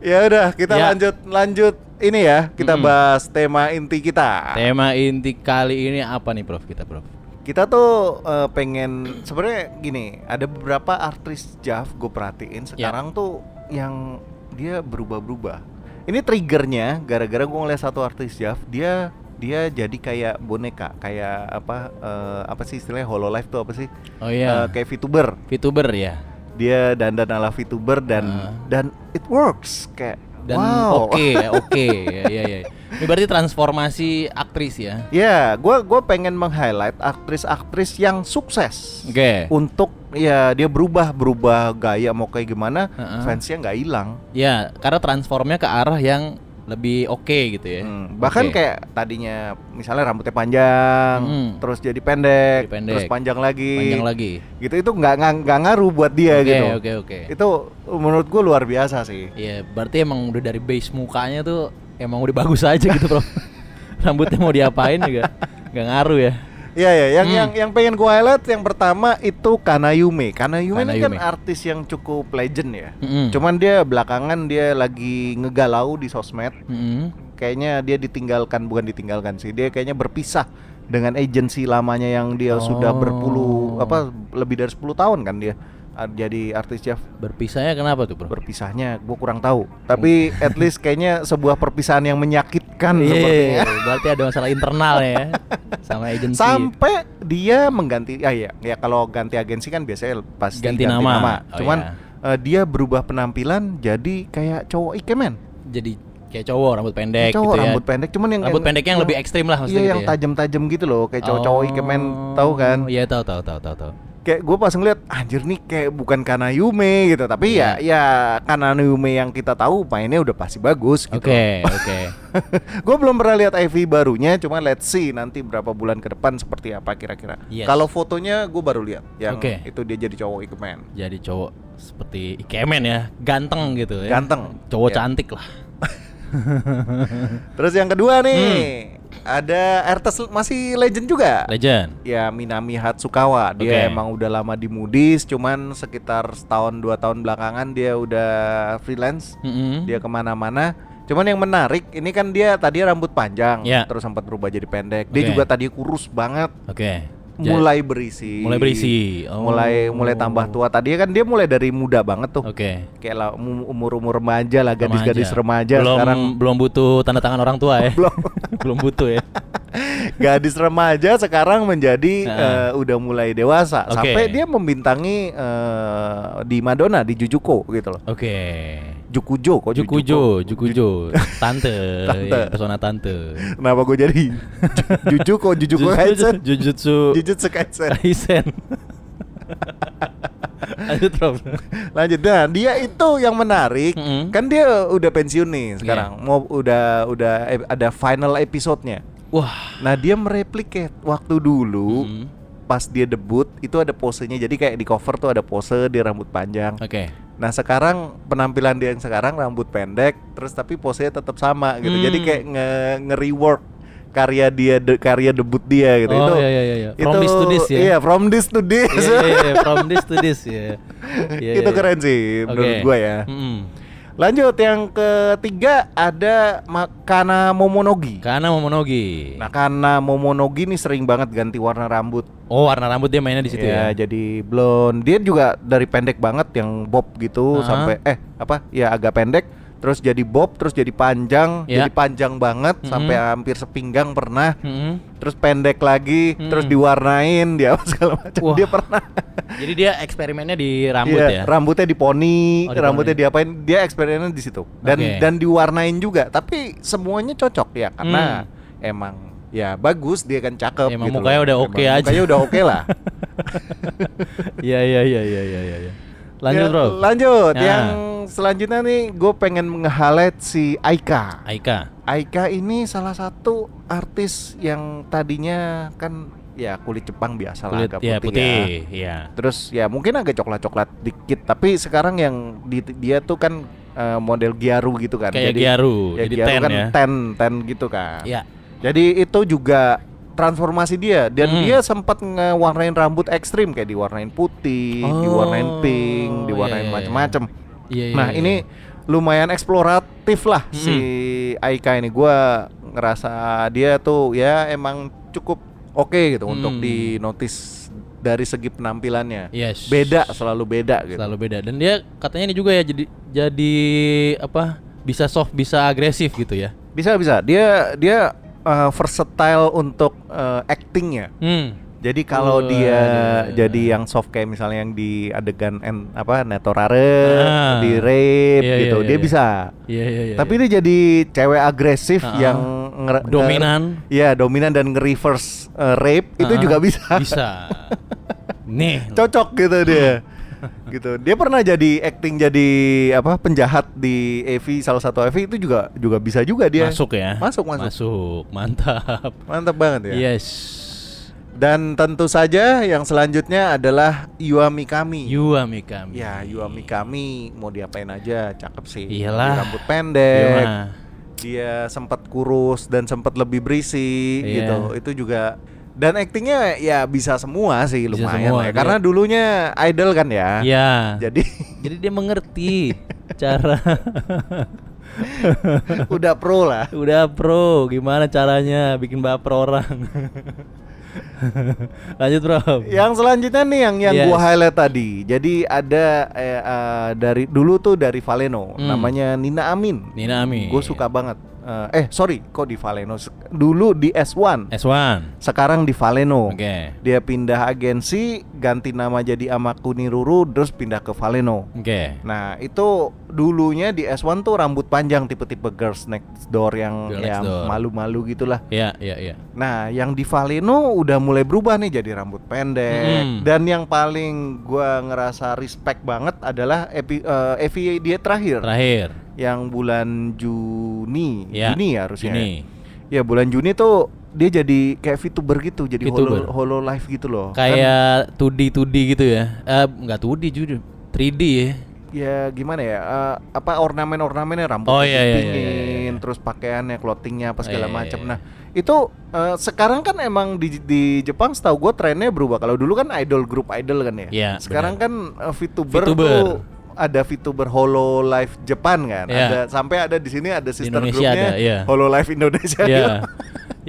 Speaker 4: Ya udah, kita
Speaker 2: Ya.
Speaker 4: lanjut lanjut ini ya. Kita
Speaker 2: Mm-mm.
Speaker 4: bahas tema inti kita.
Speaker 2: Tema inti kali ini apa nih Prof kita Prof?
Speaker 4: kita tuh eh, pengen sebenarnya gini ada beberapa artis Jav gue perhatiin
Speaker 2: Iya.
Speaker 4: sekarang tuh yang dia berubah-berubah ini triggernya gara-gara gue ngeliat satu artis Jav dia dia jadi kayak boneka kayak apa eh, apa sih istilahnya hololive tuh apa sih
Speaker 2: Oh iya.
Speaker 4: Eh, kayak VTuber
Speaker 2: VTuber ya.
Speaker 4: dia dandan ala VTuber dan
Speaker 2: Ah.
Speaker 4: dan it works kayak
Speaker 2: dan
Speaker 4: Wow.
Speaker 2: oke ya, oke ya ya ya. Ini berarti transformasi aktris ya.
Speaker 4: Ya, gua gua pengen meng-highlight aktris-aktris yang sukses.
Speaker 2: Oke.
Speaker 4: Untuk ya dia berubah berubah gaya mau kayak gimana,
Speaker 2: Heeh.
Speaker 4: fansnya nggak hilang.
Speaker 2: Ya, karena transformnya ke arah yang lebih oke gitu ya.
Speaker 4: Hmm, bahkan
Speaker 2: Oke.
Speaker 4: kayak tadinya misalnya rambutnya panjang,
Speaker 2: Hmm.
Speaker 4: terus jadi pendek,
Speaker 2: Jadi pendek.
Speaker 4: terus panjang lagi,
Speaker 2: panjang lagi.
Speaker 4: gitu itu nggak nggak- nggak ngaruh buat dia
Speaker 2: Oke,
Speaker 4: gitu.
Speaker 2: oke, oke.
Speaker 4: Itu menurut gue luar biasa sih.
Speaker 2: Iya, berarti emang udah dari base mukanya tuh emang udah bagus aja gitu, Bro. Rambutnya mau diapain juga nggak ngaruh ya.
Speaker 4: Iya ya, yang
Speaker 2: Hmm.
Speaker 4: yang yang pengen gue highlight yang pertama itu Kanayume. Kanayume ini kan
Speaker 2: Kanayume. Hmm.
Speaker 4: artis yang cukup legend ya.
Speaker 2: Mm-mm.
Speaker 4: Cuman dia belakangan dia lagi ngegalau di sosmed.
Speaker 2: Mm-mm.
Speaker 4: Kayaknya dia ditinggalkan bukan ditinggalkan sih. Dia kayaknya berpisah dengan agensi lamanya yang dia
Speaker 2: Oh.
Speaker 4: sudah berpuluh apa lebih dari 10 tahun kan dia a- jadi artis Jeff
Speaker 2: Berpisahnya kenapa tuh, Bro?
Speaker 4: berpisahnya gue kurang tahu tapi at least kayaknya sebuah perpisahan yang menyakitkan
Speaker 2: Hmm. Iya,
Speaker 4: sepertinya
Speaker 2: berarti ada masalah internal ya sama agensi.
Speaker 4: sampai dia mengganti ah ya ya kalau ganti agensi kan biasanya pasti
Speaker 2: Ganti nama. Oh,
Speaker 4: cuman
Speaker 2: iya.
Speaker 4: eh, dia berubah penampilan jadi kayak cowok ikemen
Speaker 2: Jadi kayak cowok rambut pendek
Speaker 4: cowok
Speaker 2: gitu ya.
Speaker 4: rambut pendek cuman yang
Speaker 2: Rambut pendeknya yang lebih ekstrim lah maksudnya
Speaker 4: iya
Speaker 2: gitu
Speaker 4: yang
Speaker 2: ya.
Speaker 4: tajam-tajam gitu loh kayak cowok-cowok ikemen
Speaker 2: Oh,
Speaker 4: tahu kan
Speaker 2: Iya, tahu tahu tahu tahu tahu.
Speaker 4: kayak gue pas ngeliat anjir nih kayak bukan Kanayume gitu tapi
Speaker 2: Iya.
Speaker 4: ya ya Kanayume yang kita tahu mainnya udah pasti bagus gitu
Speaker 2: Oke, oke.
Speaker 4: gue belum pernah lihat IV barunya cuma let's see nanti berapa bulan ke depan seperti apa kira-kira
Speaker 2: Yes.
Speaker 4: kalau fotonya gue baru lihat yang
Speaker 2: Oke.
Speaker 4: itu dia jadi cowok ikemen
Speaker 2: Jadi cowok seperti ikemen ya, ganteng gitu ya.
Speaker 4: Ganteng.
Speaker 2: Cowok
Speaker 4: Iya.
Speaker 2: cantik lah.
Speaker 4: terus yang kedua nih
Speaker 2: Hmm.
Speaker 4: ada Ertes masih legend juga
Speaker 2: Legend.
Speaker 4: ya Minami Hatsukawa
Speaker 2: Oke.
Speaker 4: dia emang udah lama di Moody's cuman sekitar setahun dua tahun belakangan dia udah freelance
Speaker 2: Mm-mm.
Speaker 4: dia kemana-mana cuman yang menarik ini kan dia tadi rambut panjang
Speaker 2: Ya.
Speaker 4: terus sempat berubah jadi pendek dia
Speaker 2: Oke.
Speaker 4: juga tadi kurus banget
Speaker 2: Oke. Ja-
Speaker 4: mulai berisi
Speaker 2: mulai berisi. Oh.
Speaker 4: mulai mulai tambah tua tadi kan dia mulai dari muda banget tuh
Speaker 2: Oke.
Speaker 4: kayak lah umur umur remaja lah gadis gadis
Speaker 2: Remaja.
Speaker 4: remaja
Speaker 2: belum,
Speaker 4: sekarang
Speaker 2: belum butuh tanda tangan orang tua ya.
Speaker 4: belum
Speaker 2: belum butuh ya.
Speaker 4: gadis remaja sekarang menjadi
Speaker 2: Heeh.
Speaker 4: eh, udah mulai dewasa
Speaker 2: Oke.
Speaker 4: sampai dia membintangi eh, di Madonna di Jujuko gitu loh
Speaker 2: Oke.
Speaker 4: Jukujo kok
Speaker 2: Jukujo, Jukujo, tante,
Speaker 4: Tante.
Speaker 2: iya, persona tante.
Speaker 4: kenapa gue jadi Ju- Jujuko Jujuko Kaisen
Speaker 2: Jujutsu
Speaker 4: Jujutsu Kaisen
Speaker 2: Kaisen. Lanjut Rob.
Speaker 4: lanjut nah dia itu yang menarik
Speaker 2: Mm-mm. Iya.
Speaker 4: kan dia udah pensiun nih sekarang mau udah udah ep- ada final episode-nya
Speaker 2: Wah.
Speaker 4: Nah dia mereplikat waktu dulu
Speaker 2: Mm.
Speaker 4: pas dia debut itu ada posenya jadi kayak di cover tuh ada pose dia rambut panjang.
Speaker 2: Oke.
Speaker 4: Nah sekarang penampilan dia yang sekarang rambut pendek terus tapi posenya tetap sama gitu.
Speaker 2: Hmm.
Speaker 4: Jadi kayak nge, rework karya dia de- karya debut dia gitu.
Speaker 2: Oh,
Speaker 4: itu
Speaker 2: iya, iya, iya, iya. From this to this ya?
Speaker 4: Iya from this to this.
Speaker 2: Iya, iya, iya, From this to this ya. Iya,
Speaker 4: itu
Speaker 2: iya.
Speaker 4: keren
Speaker 2: Oke.
Speaker 4: sih
Speaker 2: Hmm.
Speaker 4: menurut gua ya.
Speaker 2: Mm-mm.
Speaker 4: Lanjut yang ketiga ada Makana Momonogi.
Speaker 2: Karena Momonogi.
Speaker 4: Nah karena Momonogi nih sering banget ganti warna rambut.
Speaker 2: Oh, warna rambut dia mainnya di situ
Speaker 4: ya,
Speaker 2: ya.
Speaker 4: jadi blonde. Dia juga dari pendek banget yang bob
Speaker 2: Aha.
Speaker 4: gitu sampai eh apa? Ya agak pendek terus jadi bob terus jadi panjang,
Speaker 2: Ya.
Speaker 4: jadi panjang banget
Speaker 2: Mhm.
Speaker 4: sampai hampir sepinggang pernah.
Speaker 2: Mm-mm.
Speaker 4: Terus pendek lagi, terus
Speaker 2: Mhm.
Speaker 4: diwarnain, dia apa segala macam.
Speaker 2: Wah.
Speaker 4: Dia pernah
Speaker 2: Jadi dia eksperimennya di rambut
Speaker 4: Iya,
Speaker 2: ya.
Speaker 4: rambutnya diponi,
Speaker 2: Oh, diponi.
Speaker 4: rambutnya diapain? Dia eksperimennya di situ. Dan
Speaker 2: Oke.
Speaker 4: dan diwarnain juga, tapi semuanya cocok ya karena emang ya bagus dia kan cakep
Speaker 2: Hmm. Emang
Speaker 4: gitu
Speaker 2: mukanya
Speaker 4: loh.
Speaker 2: udah oke
Speaker 4: Emang
Speaker 2: aja.
Speaker 4: Mukanya udah oke lah.
Speaker 2: Iya, iya, iya, iya, iya, iya, iya. Lanjut,
Speaker 4: Ya,
Speaker 2: Bro.
Speaker 4: Lanjut.
Speaker 2: Ya.
Speaker 4: Yang selanjutnya nih gue pengen nge-highlight si Aika.
Speaker 2: Aika.
Speaker 4: Aika ini salah satu artis yang tadinya kan ya kulit Jepang biasa lah
Speaker 2: Kulit
Speaker 4: agak
Speaker 2: ya
Speaker 4: putih, ya.
Speaker 2: putih, ya.
Speaker 4: Terus ya mungkin agak coklat-coklat dikit, tapi sekarang yang di- dia tuh kan eh, model Giaru gitu kan.
Speaker 2: Kayak Giaru,
Speaker 4: ya
Speaker 2: jadi
Speaker 4: Giaru
Speaker 2: tan
Speaker 4: kan
Speaker 2: ya.
Speaker 4: ten, ten gitu kan.
Speaker 2: Iya.
Speaker 4: Jadi itu juga transformasi dia dan
Speaker 2: Hmm.
Speaker 4: dia sempat ngewarnain rambut ekstrim kayak diwarnain putih,
Speaker 2: Oh,
Speaker 4: diwarnain pink,
Speaker 2: iya,
Speaker 4: diwarnain
Speaker 2: iya, iya.
Speaker 4: macem-macem.
Speaker 2: Iya, iya,
Speaker 4: Nah
Speaker 2: iya.
Speaker 4: ini lumayan eksploratif lah
Speaker 2: Hmm.
Speaker 4: si Aika ini. Gua ngerasa dia tuh ya emang cukup oke gitu
Speaker 2: Hmm.
Speaker 4: untuk di notice dari segi penampilannya.
Speaker 2: Yes.
Speaker 4: Beda selalu beda gitu.
Speaker 2: selalu beda dan dia katanya ini juga ya jadi jadi apa bisa soft bisa agresif gitu ya
Speaker 4: eh, Bisa bisa. Dia dia uh, versatile untuk uh, eh, actingnya.
Speaker 2: hmm
Speaker 4: Jadi kalau dia
Speaker 2: Waduh.
Speaker 4: jadi yang soft kayak misalnya yang di adegan en, apa netorare
Speaker 2: Ah.
Speaker 4: di rape
Speaker 2: Iya,
Speaker 4: gitu,
Speaker 2: iya,
Speaker 4: dia
Speaker 2: iya.
Speaker 4: bisa.
Speaker 2: Iya iya iya.
Speaker 4: Tapi
Speaker 2: iya.
Speaker 4: dia jadi cewek agresif
Speaker 2: Ah, ah.
Speaker 4: yang nge- nge-
Speaker 2: Dominan.
Speaker 4: Iya, dominan dan nge-reverse eh, rape itu
Speaker 2: Ah,
Speaker 4: juga bisa.
Speaker 2: Bisa. Ah. Nih.
Speaker 4: Cocok gitu dia. gitu. Dia pernah jadi acting jadi apa penjahat di AV salah satu AV itu juga juga bisa juga dia.
Speaker 2: Masuk ya.
Speaker 4: Masuk, masuk.
Speaker 2: Masuk. Iya. Mantap.
Speaker 4: Mantap banget ya.
Speaker 2: Yes.
Speaker 4: Dan tentu saja yang selanjutnya adalah Yuami Kami.
Speaker 2: Yuami kami.
Speaker 4: Ya, Yuami Kami mau diapain aja, cakep sih.
Speaker 2: Iyalah.
Speaker 4: Dia Rambut pendek.
Speaker 2: Iya.
Speaker 4: Dia sempat kurus dan sempat lebih berisi
Speaker 2: Iya.
Speaker 4: gitu. Itu juga dan aktingnya ya bisa semua sih
Speaker 2: Bisa
Speaker 4: lumayan
Speaker 2: semua,
Speaker 4: lah ya.
Speaker 2: dia-
Speaker 4: Karena dulunya idol kan ya.
Speaker 2: Iya.
Speaker 4: Jadi
Speaker 2: Jadi dia mengerti cara
Speaker 4: udah pro lah.
Speaker 2: udah pro gimana caranya bikin baper orang. Lanjut, Bro.
Speaker 4: Yang selanjutnya nih yang yang gua
Speaker 2: Yes.
Speaker 4: highlight tadi. Jadi ada eh, eh, dari dulu tuh dari Valeno,
Speaker 2: Hmm.
Speaker 4: namanya Nina Amin.
Speaker 2: Nina Ami.
Speaker 4: Gue suka banget. Eh, eh sorry, kok di Valeno? Sek- Dulu di S1,
Speaker 2: S1.
Speaker 4: sekarang di Valeno.
Speaker 2: Oke.
Speaker 4: Dia pindah agensi, ganti nama jadi Amakuni Ruru, terus pindah ke Valeno.
Speaker 2: Oke.
Speaker 4: Nah itu dulunya di S1 tuh rambut panjang tipe-tipe girls next door yang
Speaker 2: Girl
Speaker 4: yang
Speaker 2: next door.
Speaker 4: malu-malu gitulah.
Speaker 2: Iya, iya, iya.
Speaker 4: Nah yang di Valeno udah mulai berubah nih jadi rambut pendek.
Speaker 2: Hmm.
Speaker 4: Dan yang paling gua ngerasa respect banget adalah epi, eh, EVA dia terakhir
Speaker 2: Terakhir.
Speaker 4: yang bulan Juni,
Speaker 2: Ya.
Speaker 4: Juni ya harusnya.
Speaker 2: Ini.
Speaker 4: Ya bulan Juni tuh dia jadi kayak VTuber gitu, jadi
Speaker 2: VTuber.
Speaker 4: holo holo live gitu loh. Kan
Speaker 2: Kayak 2D 2D gitu ya. Eh enggak 2D jujur. 3D ya.
Speaker 4: ya gimana ya? eh, apa ornamen-ornamennya rambut
Speaker 2: Oh, iya, iya, iya, iya, iya.
Speaker 4: terus pakaiannya, clothingnya apa
Speaker 2: Oh,
Speaker 4: segala
Speaker 2: iya, iya,
Speaker 4: macam.
Speaker 2: iya.
Speaker 4: Nah, itu eh, sekarang kan emang di di Jepang setahu gue trennya berubah. Kalau dulu kan idol grup idol kan ya.
Speaker 2: Iya,
Speaker 4: sekarang
Speaker 2: benar.
Speaker 4: kan eh, VTuber,
Speaker 2: VTuber.
Speaker 4: tuh ada VTuber Holo Live Japan kan.
Speaker 2: Iya.
Speaker 4: Ada sampai ada di sini ada sister
Speaker 2: Indonesia
Speaker 4: grupnya
Speaker 2: ada, iya.
Speaker 4: Holo Live Indonesia.
Speaker 2: Iya.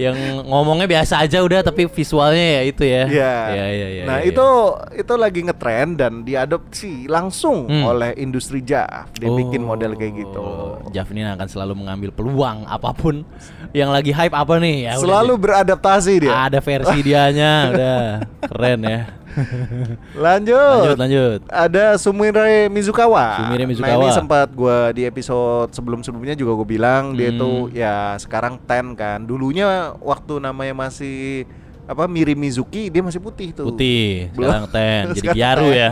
Speaker 2: Yang ngomongnya biasa aja udah tapi visualnya ya itu ya.
Speaker 4: Iya.
Speaker 2: Iya, iya, iya.
Speaker 4: Nah,
Speaker 2: iya.
Speaker 4: itu itu lagi ngetren dan diadopsi langsung
Speaker 2: Hmm.
Speaker 4: oleh industri JAF. Dia
Speaker 2: Oh.
Speaker 4: bikin model kayak gitu.
Speaker 2: Javnin akan selalu mengambil peluang apapun yang lagi hype apa nih ya. udah
Speaker 4: Selalu
Speaker 2: deh.
Speaker 4: beradaptasi dia.
Speaker 2: ada versi dianya udah keren ya.
Speaker 4: Lanjut.
Speaker 2: lanjut lanjut.
Speaker 4: Ada Sumire Mizukawa.
Speaker 2: Sumire
Speaker 4: Nah,
Speaker 2: Mizukawa.
Speaker 4: ini sempat gua di episode sebelum-sebelumnya juga gue bilang dia
Speaker 2: Hmm.
Speaker 4: itu ya sekarang ten kan. Dulunya waktu namanya masih apa Miri Mizuki dia masih putih tuh.
Speaker 2: Putih,
Speaker 4: Belum.
Speaker 2: sekarang ten, jadi
Speaker 4: Sekarang
Speaker 2: biaru
Speaker 4: ten.
Speaker 2: ya.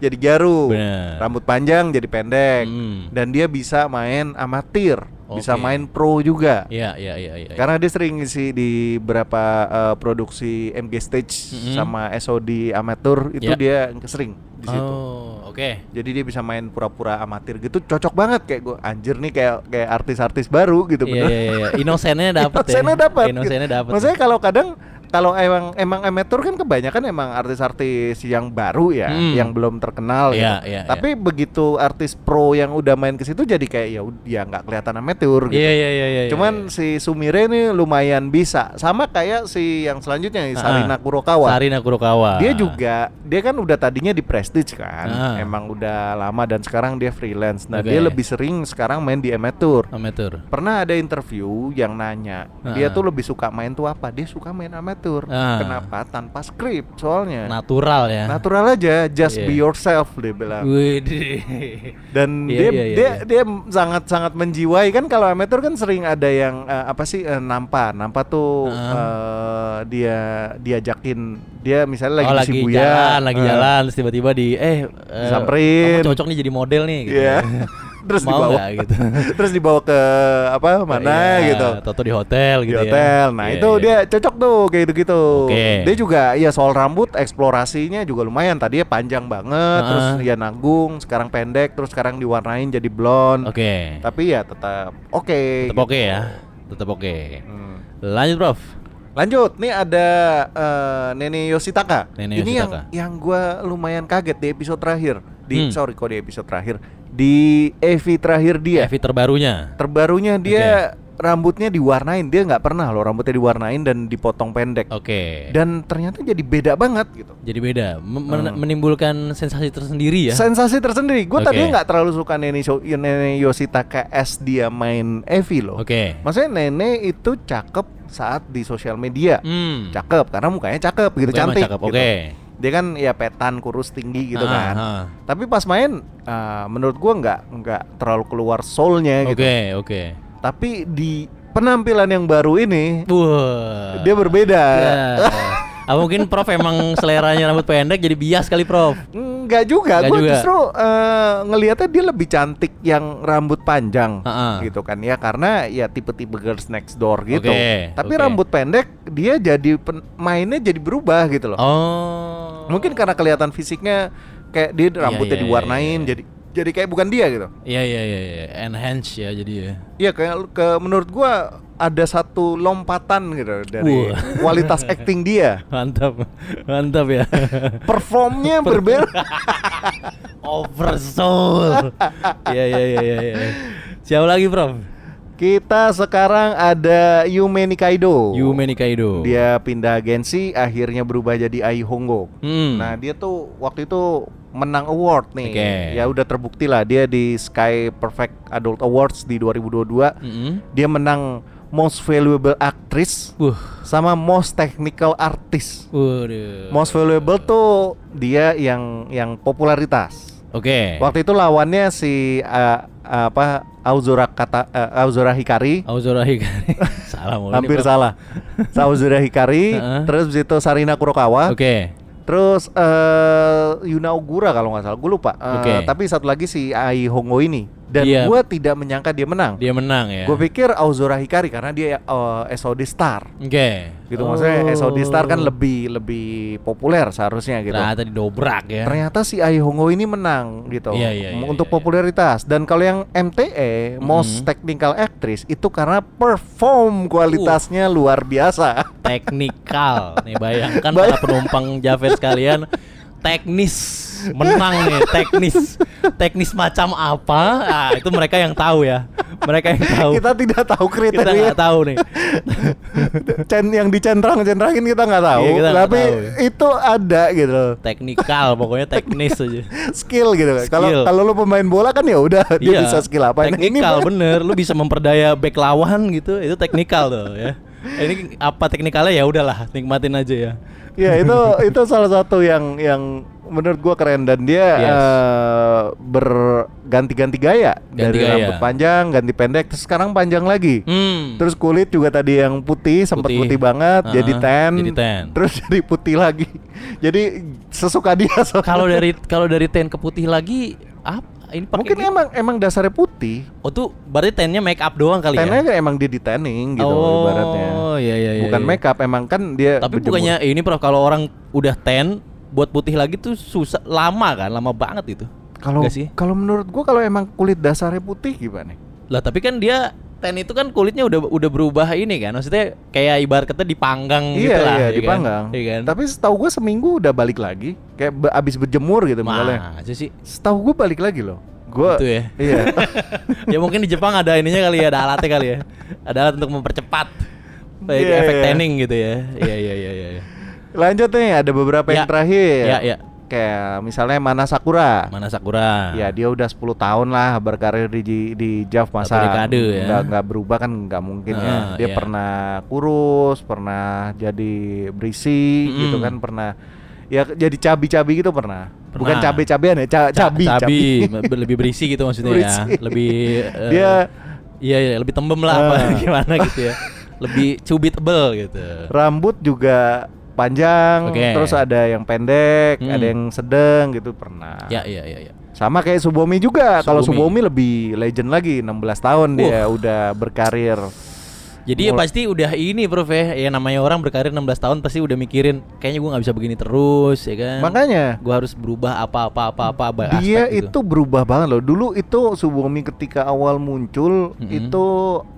Speaker 4: Jadi garu.
Speaker 2: Bener.
Speaker 4: Rambut panjang jadi pendek.
Speaker 2: Hmm.
Speaker 4: Dan dia bisa main amatir, bisa
Speaker 2: Oke.
Speaker 4: main pro juga.
Speaker 2: Iya, iya, iya, iya.
Speaker 4: Karena dia sering ngisi di beberapa eh, produksi MG Stage
Speaker 2: Mhm.
Speaker 4: sama SOD amatur itu
Speaker 2: Ya.
Speaker 4: dia sering di situ.
Speaker 2: Oh, oke.
Speaker 4: Jadi dia bisa main pura-pura amatir gitu, cocok banget kayak gue anjir nih kayak kayak artis-artis baru gitu
Speaker 2: Iya, iya, iya. Inosennya dapat ya.
Speaker 4: Inosennya dapat. gitu.
Speaker 2: Inosennya dapat.
Speaker 4: Maksudnya kalau kadang kalau emang emang amatur kan kebanyakan emang artis-artis yang baru ya,
Speaker 2: Hmm.
Speaker 4: yang belum terkenal
Speaker 2: Iya,
Speaker 4: gitu.
Speaker 2: iya,
Speaker 4: Tapi begitu artis pro yang udah main ke situ jadi kayak ya ud- ya nggak kelihatan amatur gitu.
Speaker 2: Iya, iya, iya, iya.
Speaker 4: Cuman
Speaker 2: iya.
Speaker 4: si Sumire ini lumayan bisa. Sama kayak si yang selanjutnya
Speaker 2: Ah, ah.
Speaker 4: Sarina Kurokawa.
Speaker 2: Sarina Kurokawa.
Speaker 4: Dia juga dia kan udah tadinya di Prestige kan.
Speaker 2: Ah.
Speaker 4: Emang udah lama dan sekarang dia freelance. Nah,
Speaker 2: Oke.
Speaker 4: dia lebih sering sekarang main di amateur.
Speaker 2: amatur.
Speaker 4: Pernah ada interview yang nanya,
Speaker 2: Ah.
Speaker 4: dia tuh lebih suka main tuh apa? Dia suka main amatur.
Speaker 2: Ah.
Speaker 4: Kenapa? Tanpa skrip soalnya.
Speaker 2: Natural ya.
Speaker 4: Natural aja, just
Speaker 2: Iya.
Speaker 4: be yourself dia bilang
Speaker 2: Widih.
Speaker 4: dan
Speaker 2: Iya, iya,
Speaker 4: dia
Speaker 2: iya,
Speaker 4: dia
Speaker 2: iya.
Speaker 4: dia sangat sangat menjiwai kan kalau amatur kan sering ada yang eh, apa sih eh, nampa nampa tuh
Speaker 2: Heeh.
Speaker 4: eh, dia diajakin dia misalnya lagi
Speaker 2: oh,
Speaker 4: di
Speaker 2: lagi
Speaker 4: Shibuya,
Speaker 2: jalan, lagi
Speaker 4: eh,
Speaker 2: jalan, terus tiba-tiba di eh eh,
Speaker 4: Disamperin.
Speaker 2: kamu cocok nih jadi model nih. Gitu.
Speaker 4: Iya. terus
Speaker 2: Mau
Speaker 4: dibawa
Speaker 2: nggak, gitu.
Speaker 4: terus dibawa ke apa mana
Speaker 2: Iya,
Speaker 4: gitu
Speaker 2: Toto di hotel
Speaker 4: di
Speaker 2: gitu ya.
Speaker 4: hotel nah
Speaker 2: Iya,
Speaker 4: itu
Speaker 2: iya.
Speaker 4: dia cocok tuh kayak gitu gitu
Speaker 2: Oke.
Speaker 4: dia juga ya soal rambut eksplorasinya juga lumayan tadinya panjang banget terus
Speaker 2: Heeh.
Speaker 4: ya nanggung sekarang pendek terus sekarang diwarnain jadi blonde
Speaker 2: Oke.
Speaker 4: tapi ya tetap oke
Speaker 2: Tetap
Speaker 4: gitu.
Speaker 2: oke ya. Tetap oke.
Speaker 4: Hmm.
Speaker 2: Lanjut, Prof.
Speaker 4: Lanjut, nih ada eh, Nene Yoshitaka.
Speaker 2: Nene
Speaker 4: Ini yang
Speaker 2: Yoshitaka.
Speaker 4: yang gua lumayan kaget di episode terakhir. Di
Speaker 2: Hmm.
Speaker 4: sorry kok di episode terakhir. Di EV terakhir dia.
Speaker 2: Evi terbarunya.
Speaker 4: Terbarunya dia rambutnya diwarnain dia nggak pernah loh rambutnya diwarnain dan dipotong pendek
Speaker 2: Oke.
Speaker 4: dan ternyata jadi beda banget gitu
Speaker 2: Jadi beda, Mem- men- menimbulkan sensasi tersendiri ya.
Speaker 4: sensasi tersendiri gue
Speaker 2: Oke.
Speaker 4: tadi nggak terlalu suka nenek Sho- nenek Yoshitaka S dia main Evi loh
Speaker 2: Oke.
Speaker 4: maksudnya nenek itu cakep saat di sosial media
Speaker 2: Hmm.
Speaker 4: cakep karena mukanya cakep gitu
Speaker 2: Mukanya
Speaker 4: cantik
Speaker 2: cakep,
Speaker 4: gitu.
Speaker 2: oke.
Speaker 4: dia kan ya petan kurus tinggi gitu
Speaker 2: Ah,
Speaker 4: kan
Speaker 2: ah.
Speaker 4: tapi pas main eh, menurut gua nggak nggak terlalu keluar soulnya gitu
Speaker 2: Oke, oke.
Speaker 4: tapi di penampilan yang baru ini
Speaker 2: Wah.
Speaker 4: dia berbeda Eh,
Speaker 2: Ya. Ah, mungkin Prof emang seleranya rambut pendek jadi bias kali Prof.
Speaker 4: Enggak juga,
Speaker 2: Nggak
Speaker 4: gue
Speaker 2: juga.
Speaker 4: justru eh, ngelihatnya dia lebih cantik yang rambut panjang
Speaker 2: Ha-ha.
Speaker 4: gitu kan ya karena ya tipe-tipe girls next door gitu.
Speaker 2: Oke,
Speaker 4: Tapi
Speaker 2: oke.
Speaker 4: rambut pendek dia jadi pen- mainnya jadi berubah gitu loh.
Speaker 2: Oh.
Speaker 4: Mungkin karena kelihatan fisiknya kayak dia
Speaker 2: iya,
Speaker 4: rambutnya
Speaker 2: iya,
Speaker 4: diwarnain
Speaker 2: iya.
Speaker 4: jadi jadi kayak bukan dia gitu.
Speaker 2: Iya iya iya iya. enhance ya jadi ya.
Speaker 4: Iya kayak ke menurut gua ada satu lompatan gitu dari
Speaker 2: Wah.
Speaker 4: kualitas acting dia.
Speaker 2: Mantap. Mantap ya.
Speaker 4: Performnya berbeda.
Speaker 2: Oversoul. Iya iya iya iya. iya. Siapa lagi Prof?
Speaker 4: Kita sekarang ada Yume Nikaido.
Speaker 2: Yume Nikaido.
Speaker 4: Dia pindah agensi, akhirnya berubah jadi Ai Hongo.
Speaker 2: Hmm.
Speaker 4: Nah, dia tuh waktu itu menang award nih.
Speaker 2: Oke.
Speaker 4: Ya udah terbukti lah dia di Sky Perfect Adult Awards di 2022.
Speaker 2: Mm-mm.
Speaker 4: Dia menang Most Valuable Actress
Speaker 2: Hmm. Wuh.
Speaker 4: sama Most Technical Artist.
Speaker 2: Waduh.
Speaker 4: Most Valuable tuh dia yang yang popularitas.
Speaker 2: Oke.
Speaker 4: Waktu itu lawannya si eh, apa Aozora Kata eh, Aozora Hikari.
Speaker 2: Auzora Hikari. Salah mulu nih,
Speaker 4: Hampir
Speaker 2: Prof.
Speaker 4: salah. Aozora Hikari,
Speaker 2: Heeh.
Speaker 4: terus habis itu Sarina Kurokawa.
Speaker 2: Oke.
Speaker 4: Terus eh Yuna Ogura kalau nggak salah, gue lupa. Eh,
Speaker 2: Oke.
Speaker 4: Tapi satu lagi si Ai Hongo ini. Dan
Speaker 2: Iya.
Speaker 4: gue tidak menyangka dia menang.
Speaker 2: Dia menang ya.
Speaker 4: Gue pikir Aozora Hikari karena dia eh, SOD Star.
Speaker 2: Oke.
Speaker 4: Gitu maksudnya SOD Star kan
Speaker 2: Oh.
Speaker 4: lebih lebih populer seharusnya gitu.
Speaker 2: Ternyata didobrak ya.
Speaker 4: Ternyata si Ai Hongo ini menang gitu
Speaker 2: Iya, iya, iya, iya,
Speaker 4: untuk
Speaker 2: iya.
Speaker 4: popularitas. Dan kalau yang MTE Most
Speaker 2: Mhm.
Speaker 4: Technical Actress itu karena perform
Speaker 2: Uh.
Speaker 4: kualitasnya luar biasa.
Speaker 2: teknikal nih bayangkan
Speaker 4: Bay-
Speaker 2: para penumpang Javet sekalian teknis menang nih teknis teknis macam apa ah, itu mereka yang tahu ya mereka yang tahu
Speaker 4: Kita tidak tahu
Speaker 2: kita
Speaker 4: kriteria.
Speaker 2: nggak tahu nih
Speaker 4: Cen yang dicentrang-centrangin kita nggak tahu,
Speaker 2: Iya, kita nggak
Speaker 4: tapi
Speaker 2: tahu.
Speaker 4: itu ada gitu loh.
Speaker 2: teknikal pokoknya teknis aja
Speaker 4: skill gitu kan. Kalau
Speaker 2: Skill. Iya.
Speaker 4: kalau lu pemain bola kan ya udah dia bisa skill apa Nah,
Speaker 2: teknikal
Speaker 4: mah-
Speaker 2: bener lu bisa memperdaya back lawan gitu itu teknikal tuh ya ini apa teknikalnya ya udahlah nikmatin aja ya
Speaker 4: Ya itu itu salah satu yang yang menurut gua keren dan dia
Speaker 2: Yes.
Speaker 4: eh, berganti-ganti gaya
Speaker 2: Ganti
Speaker 4: dari
Speaker 2: gaya.
Speaker 4: rambut panjang, ganti pendek, terus sekarang panjang lagi.
Speaker 2: hmm.
Speaker 4: Terus kulit juga tadi yang putih, sempat
Speaker 2: Putih.
Speaker 4: putih, banget,
Speaker 2: Ah,
Speaker 4: jadi tan,
Speaker 2: jadi tan.
Speaker 4: terus jadi putih lagi. Jadi sesuka dia soalnya.
Speaker 2: kalau dari kalau dari ten ke putih lagi apa ini pakai
Speaker 4: mungkin
Speaker 2: ini?
Speaker 4: emang emang dasarnya putih,
Speaker 2: Oh tuh berarti tennya make up doang kali
Speaker 4: Tannya
Speaker 2: ya?
Speaker 4: kan emang dia di tanning gitu
Speaker 2: oh,
Speaker 4: ibaratnya.
Speaker 2: iya iya iya.
Speaker 4: Bukan
Speaker 2: iya.
Speaker 4: make up emang kan dia
Speaker 2: Tapi
Speaker 4: berjemur.
Speaker 2: bukannya eh, ini Prof kalau orang udah ten buat putih lagi tuh susah lama kan, lama banget itu.
Speaker 4: kalau
Speaker 2: Nggak sih?
Speaker 4: kalau menurut gua kalau emang kulit dasarnya putih gimana?
Speaker 2: Lah tapi kan dia ten itu kan kulitnya udah udah berubah ini kan. Maksudnya kayak ibarat kata dipanggang gitu
Speaker 4: iya
Speaker 2: lah.
Speaker 4: iya
Speaker 2: ya kan?
Speaker 4: dipanggang.
Speaker 2: Iya kan?
Speaker 4: Tapi setahu gua seminggu udah balik lagi kayak be- abis berjemur gitu misalnya.
Speaker 2: Masa sih?
Speaker 4: Setahu gua balik lagi loh. Gua
Speaker 2: Gitu ya?
Speaker 4: Iya.
Speaker 2: ya mungkin di Jepang ada ininya kali ya, ada alatnya kali ya. Ada alat untuk mempercepat Kayak
Speaker 4: Iya,
Speaker 2: efek
Speaker 4: iya.
Speaker 2: tanning gitu ya. Iya iya iya iya. iya.
Speaker 4: Lanjut nih ada beberapa yang
Speaker 2: Ya.
Speaker 4: terakhir.
Speaker 2: Ya, ya.
Speaker 4: Kayak misalnya Mana Sakura.
Speaker 2: Mana Sakura?
Speaker 4: Ya dia udah 10 tahun lah berkarir di J- di Jav masa
Speaker 2: dekade ya.
Speaker 4: nggak nggak berubah kan nggak mungkin ya.
Speaker 2: Heeh,
Speaker 4: Dia
Speaker 2: iya.
Speaker 4: pernah kurus, pernah jadi berisi
Speaker 2: Mm-mm.
Speaker 4: gitu kan, pernah ya jadi cabi-cabi gitu pernah. Bukan
Speaker 2: Pernah.
Speaker 4: cabe-cabean ya, ca-
Speaker 2: Ca-
Speaker 4: cabi,
Speaker 2: cabi,
Speaker 4: cabi.
Speaker 2: be- lebih berisi gitu maksudnya
Speaker 4: Berisi.
Speaker 2: ya lebih eh,
Speaker 4: Dia-
Speaker 2: iya, iya lebih tembem lah apa
Speaker 4: Ah.
Speaker 2: gimana gitu ya lebih cubitable gitu
Speaker 4: Rambut juga panjang,
Speaker 2: Oke.
Speaker 4: terus ada yang pendek,
Speaker 2: Mm.
Speaker 4: ada yang sedang gitu pernah.
Speaker 2: ya ya ya ya
Speaker 4: Sama kayak Subomi juga. Kalau
Speaker 2: Subomi.
Speaker 4: Subomi lebih legend lagi, 16 tahun dia udah berkarir.
Speaker 2: jadi ya pasti udah ini prof ya ya namanya orang berkarir 16 tahun pasti udah mikirin kayaknya gua nggak bisa begini terus ya kan
Speaker 4: Makanya
Speaker 2: gua harus berubah apa apa apa apa apa
Speaker 4: Dia
Speaker 2: aspek gitu.
Speaker 4: itu berubah banget loh. Dulu itu Subomi ketika awal muncul
Speaker 2: Mm-mm.
Speaker 4: itu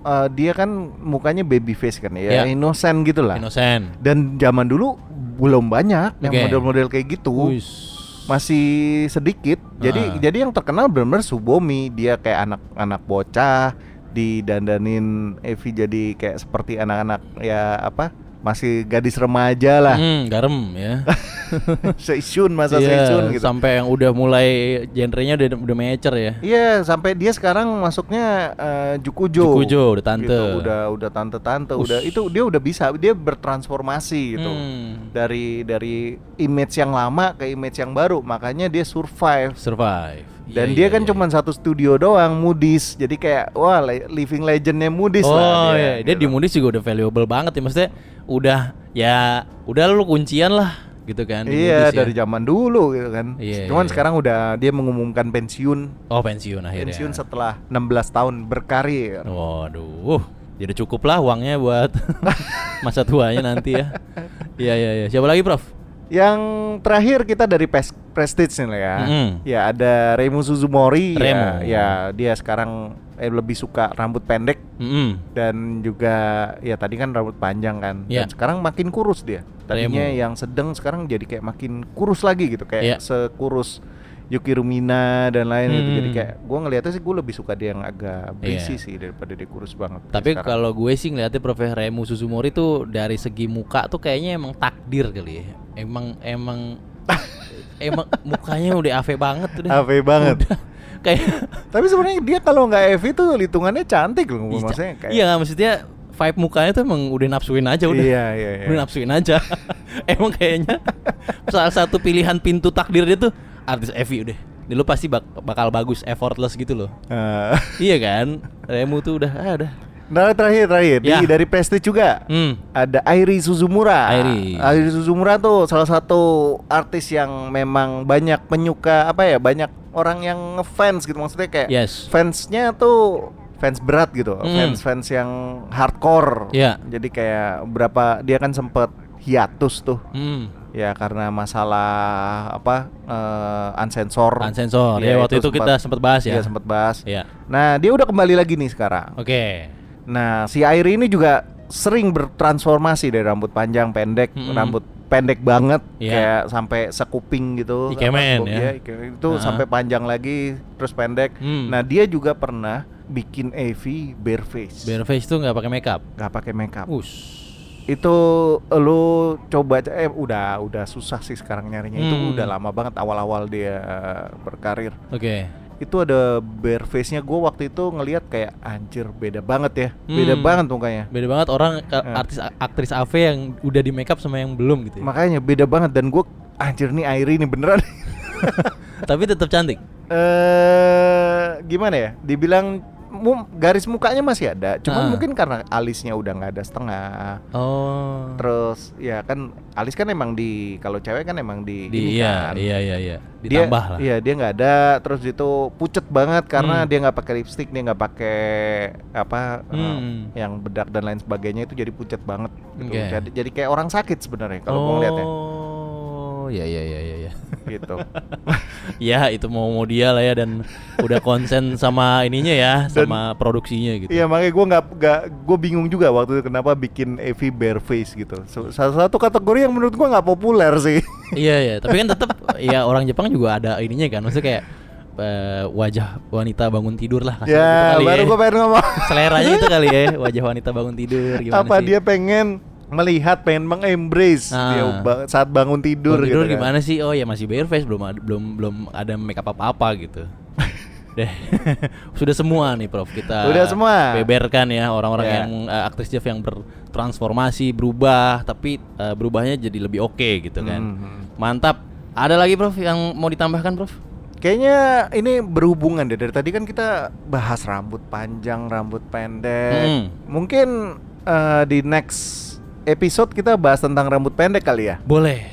Speaker 4: eh, dia kan mukanya baby face kan ya,
Speaker 2: Ya.
Speaker 4: innocent gitu lah.
Speaker 2: innocent
Speaker 4: Dan zaman dulu belum banyak yang
Speaker 2: Oke. Oh,
Speaker 4: model-model kayak gitu.
Speaker 2: Wis.
Speaker 4: Masih sedikit. Jadi
Speaker 2: Ah.
Speaker 4: jadi yang terkenal benar-benar Subomi, dia kayak anak-anak bocah, didandanin Evi jadi kayak seperti anak-anak ya apa masih gadis remaja lah
Speaker 2: Hmm, garam ya.
Speaker 4: seisun masa
Speaker 2: Iya,
Speaker 4: seisun gitu
Speaker 2: Sampai yang udah mulai genrenya udah udah mature ya.
Speaker 4: Iya, sampai dia sekarang masuknya eh, Jukujo.
Speaker 2: Jukujo, udah tante.
Speaker 4: Gitu, udah udah tante-tante,
Speaker 2: Ush.
Speaker 4: udah itu dia udah bisa, dia bertransformasi gitu.
Speaker 2: Hmm.
Speaker 4: Dari dari image yang lama ke image yang baru, makanya dia survive.
Speaker 2: Survive.
Speaker 4: Dan
Speaker 2: Iya,
Speaker 4: dia
Speaker 2: iya,
Speaker 4: kan
Speaker 2: iya.
Speaker 4: cuman satu studio doang, Moody's. Jadi kayak wah le- living legendnya Moody's
Speaker 2: Oh
Speaker 4: lah
Speaker 2: iya, dia
Speaker 4: gitu.
Speaker 2: di Moody's juga udah valuable banget ya maksudnya udah ya udah lu kuncian lah gitu kan di
Speaker 4: Iya,
Speaker 2: Moody's ya.
Speaker 4: dari zaman dulu gitu kan.
Speaker 2: Iya, iya.
Speaker 4: Cuman sekarang udah dia mengumumkan pensiun.
Speaker 2: Oh pensiun akhirnya. Oh.
Speaker 4: Pensiun setelah 16 tahun berkarir.
Speaker 2: Waduh, jadi cukup lah uangnya buat masa tuanya nanti ya. Iya iya iya. Siapa lagi, Prof?
Speaker 4: Yang terakhir kita dari Pes Prestige nih lah ya.
Speaker 2: Mhm.
Speaker 4: Ya ada Remu Suzumori.
Speaker 2: Remu.
Speaker 4: Ya, ya dia sekarang eh, lebih suka rambut pendek
Speaker 2: Mm-mm.
Speaker 4: dan juga ya tadi kan rambut panjang kan.
Speaker 2: Iya.
Speaker 4: Dan sekarang makin kurus dia. Tadinya
Speaker 2: Remu.
Speaker 4: yang sedang sekarang jadi kayak makin kurus lagi gitu
Speaker 2: Iya.
Speaker 4: kayak sekurus Yuki Rumina dan lain gitu. Jadi
Speaker 2: Hmm. Ya.
Speaker 4: kayak gua ngelihatnya sih gue lebih suka dia yang agak berisi sih daripada dia kurus banget. kayak
Speaker 2: Tapi
Speaker 4: sekarang.
Speaker 2: kalau gue sih ngeliatnya Prof Remu Suzumori tuh dari segi muka tuh kayaknya emang takdir kali ya. Emang emang emang mukanya udah AV banget udah.
Speaker 4: AV banget.
Speaker 2: Udah. Kayak
Speaker 4: Tapi sebenarnya dia kalau nggak Evi tuh hitungannya cantik loh
Speaker 2: Iya,
Speaker 4: maksudnya kayak
Speaker 2: Iya, maksudnya vibe mukanya tuh emang udah nafsuin aja udah.
Speaker 4: Iya, iya, iya.
Speaker 2: Udah nafsuin aja. emang kayaknya salah satu pilihan pintu takdir dia tuh artis Evi udah. Ini lu pasti bak- bakal bagus, effortless gitu loh.
Speaker 4: Eh,
Speaker 2: iya kan? Remu tuh udah ah, udah.
Speaker 4: nah terakhir terakhir Di-
Speaker 2: Ya.
Speaker 4: dari Prestige juga
Speaker 2: Hmm.
Speaker 4: ada Airi Suzumura.
Speaker 2: Airi.
Speaker 4: Airi Suzumura tuh salah satu artis yang memang banyak penyuka apa ya banyak orang yang ngefans gitu maksudnya kayak
Speaker 2: Yes.
Speaker 4: fansnya tuh fans berat gitu
Speaker 2: Hmm.
Speaker 4: fans fans yang hardcore.
Speaker 2: Iya.
Speaker 4: Jadi kayak berapa dia kan sempet hiatus tuh
Speaker 2: Hmm.
Speaker 4: ya karena masalah apa eh, unsensor.
Speaker 2: Unsensor. Ya, waktu itu kita sempet bahas ya.
Speaker 4: Iya sempet bahas.
Speaker 2: Iya.
Speaker 4: Nah dia udah kembali lagi nih sekarang.
Speaker 2: Oke.
Speaker 4: Nah, si Airi ini juga sering bertransformasi dari rambut panjang pendek,
Speaker 2: Mm-mm.
Speaker 4: rambut pendek banget
Speaker 2: Hmm. Iya.
Speaker 4: kayak sampai sekuping gitu.
Speaker 2: Ikemen, ya.
Speaker 4: Apa, iya, ikemen. Itu
Speaker 2: Ha-ha.
Speaker 4: sampai panjang lagi terus pendek.
Speaker 2: Hmm.
Speaker 4: Nah, dia juga pernah bikin AV bare face.
Speaker 2: Bare face tuh nggak pakai makeup.
Speaker 4: Gak pakai makeup.
Speaker 2: Us.
Speaker 4: Itu lu coba eh udah udah susah sih sekarang nyarinya. Itu
Speaker 2: Hmm.
Speaker 4: udah lama banget awal-awal dia eh, berkarir.
Speaker 2: Oke.
Speaker 4: Itu ada bare face-nya gua waktu itu ngelihat kayak anjir beda banget ya.
Speaker 2: Hmm.
Speaker 4: Beda banget mukanya.
Speaker 2: Beda banget orang ka-
Speaker 4: Ya.
Speaker 2: artis aktris AV yang udah di makeup sama yang belum gitu. ya.
Speaker 4: Makanya beda banget dan gue anjir nih Airi nih beneran.
Speaker 2: Tapi tetap cantik.
Speaker 4: eh gimana ya? Dibilang mu- garis mukanya masih ada,
Speaker 2: Ah.
Speaker 4: cuman mungkin karena alisnya udah nggak ada setengah.
Speaker 2: Oh.
Speaker 4: Terus ya kan alis kan emang di kalau cewek kan emang di, ini
Speaker 2: di iya,
Speaker 4: kan.
Speaker 2: iya iya iya
Speaker 4: Dia-
Speaker 2: ditambah lah
Speaker 4: Iya, dia nggak ada. Terus itu pucet banget karena
Speaker 2: Hmm.
Speaker 4: dia nggak pakai lipstick, dia nggak pakai apa eh,
Speaker 2: Hmm.
Speaker 4: yang bedak dan lain sebagainya itu jadi pucet banget gitu.
Speaker 2: Oke.
Speaker 4: Jadi jadi kayak orang sakit sebenarnya kalau gue ngeliatnya
Speaker 2: oh ya ya ya ya ya
Speaker 4: gitu.
Speaker 2: ya itu mau mau dia lah ya dan udah konsen sama ininya ya
Speaker 4: Dan-
Speaker 2: sama produksinya gitu
Speaker 4: Iya makanya gue nggak nggak gue bingung juga waktu itu kenapa bikin Evi bare face gitu. So- Salah satu kategori yang menurut gue nggak populer sih.
Speaker 2: iya iya tapi kan tetap ya orang Jepang juga ada ininya kan maksudnya kayak eh, wajah wanita bangun tidur lah kasar
Speaker 4: ya
Speaker 2: gitu kali
Speaker 4: baru
Speaker 2: ya.
Speaker 4: gue pengen ngomong
Speaker 2: seleranya itu kali ya wajah wanita bangun tidur gimana
Speaker 4: apa
Speaker 2: sih?
Speaker 4: dia pengen melihat pengen mengembrace
Speaker 2: Ah.
Speaker 4: dia ba- saat bangun tidur,
Speaker 2: tidur, tidur
Speaker 4: gitu kan.
Speaker 2: gimana sih? Oh ya masih bare face belum ad- belum belum ada makeup apa-apa gitu. Deh. Sudah semua nih Prof kita
Speaker 4: Udah semua.
Speaker 2: beberkan ya orang-orang
Speaker 4: Ya.
Speaker 2: yang eh, aktris Jeff yang bertransformasi, berubah tapi eh, berubahnya jadi lebih oke gitu kan.
Speaker 4: Mhm.
Speaker 2: Mantap. Ada lagi Prof yang mau ditambahkan Prof?
Speaker 4: Kayaknya ini berhubungan deh dari tadi kan kita bahas rambut panjang, rambut pendek.
Speaker 2: Hmm.
Speaker 4: Mungkin eh, di next episode kita bahas tentang rambut pendek kali ya.
Speaker 2: Boleh.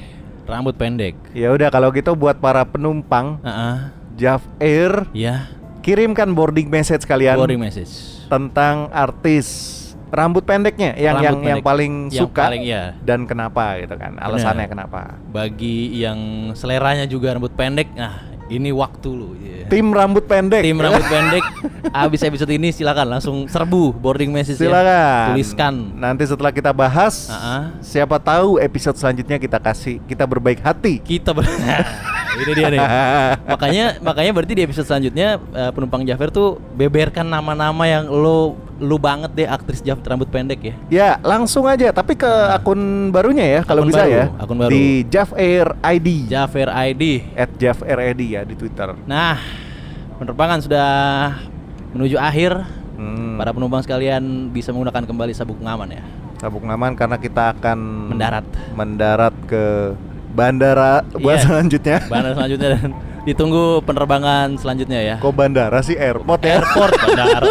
Speaker 2: Rambut pendek.
Speaker 4: Ya udah kalau gitu buat para penumpang
Speaker 2: Ah,
Speaker 4: Jav Air
Speaker 2: Ya.
Speaker 4: kirimkan boarding message kalian
Speaker 2: Boring message.
Speaker 4: tentang artis rambut pendeknya yang
Speaker 2: Rambut
Speaker 4: yang yang
Speaker 2: pendek.
Speaker 4: paling
Speaker 2: Yang
Speaker 4: suka
Speaker 2: paling, iya.
Speaker 4: dan kenapa gitu kan alasannya kenapa
Speaker 2: Bagi yang seleranya juga rambut pendek, nah ini waktu lu. iya.
Speaker 4: tim rambut pendek
Speaker 2: Tim rambut pendek abis episode ini silakan langsung serbu boarding message ya.
Speaker 4: silakan
Speaker 2: Tuliskan.
Speaker 4: nanti setelah kita bahas
Speaker 2: Ah, ah.
Speaker 4: siapa tahu episode selanjutnya kita kasih kita berbaik hati
Speaker 2: Kita ber- Nah, ini dia nih. makanya makanya berarti di episode selanjutnya eh, penumpang Jafar tuh beberkan nama-nama yang lo lu banget deh aktris Jafar rambut pendek ya.
Speaker 4: Ya, langsung aja. Tapi ke akun barunya ya, kalau
Speaker 2: Akun
Speaker 4: bisa
Speaker 2: baru,
Speaker 4: ya.
Speaker 2: akun baru.
Speaker 4: Di Jav Air ID.
Speaker 2: Jafar ID.
Speaker 4: At Jav Air ID ya di Twitter.
Speaker 2: Nah, penerbangan sudah menuju akhir.
Speaker 4: Hmm,
Speaker 2: Para penumpang sekalian bisa menggunakan kembali sabuk pengaman ya.
Speaker 4: tabuk ngaman karena kita akan
Speaker 2: Mendarat.
Speaker 4: mendarat ke bandara buat
Speaker 2: Iya.
Speaker 4: selanjutnya.
Speaker 2: Bandara selanjutnya dan ditunggu penerbangan selanjutnya ya.
Speaker 4: Kok bandara sih airport ya?
Speaker 2: Airport bandara.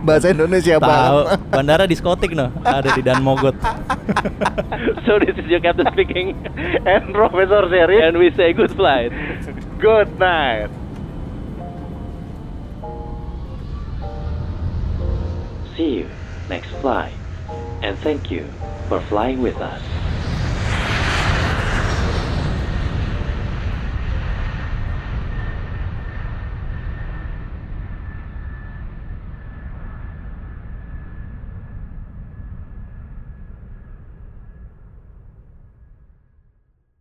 Speaker 4: Bahasa
Speaker 2: Eh,
Speaker 4: Indonesia
Speaker 2: Tahu
Speaker 4: banget.
Speaker 2: bandara diskotik noh, ada di Dan Mogot.
Speaker 5: So this is your captain speaking and Professor Sherry and we say good flight.
Speaker 4: Good night.
Speaker 5: See you next flight and thank you for flying with us.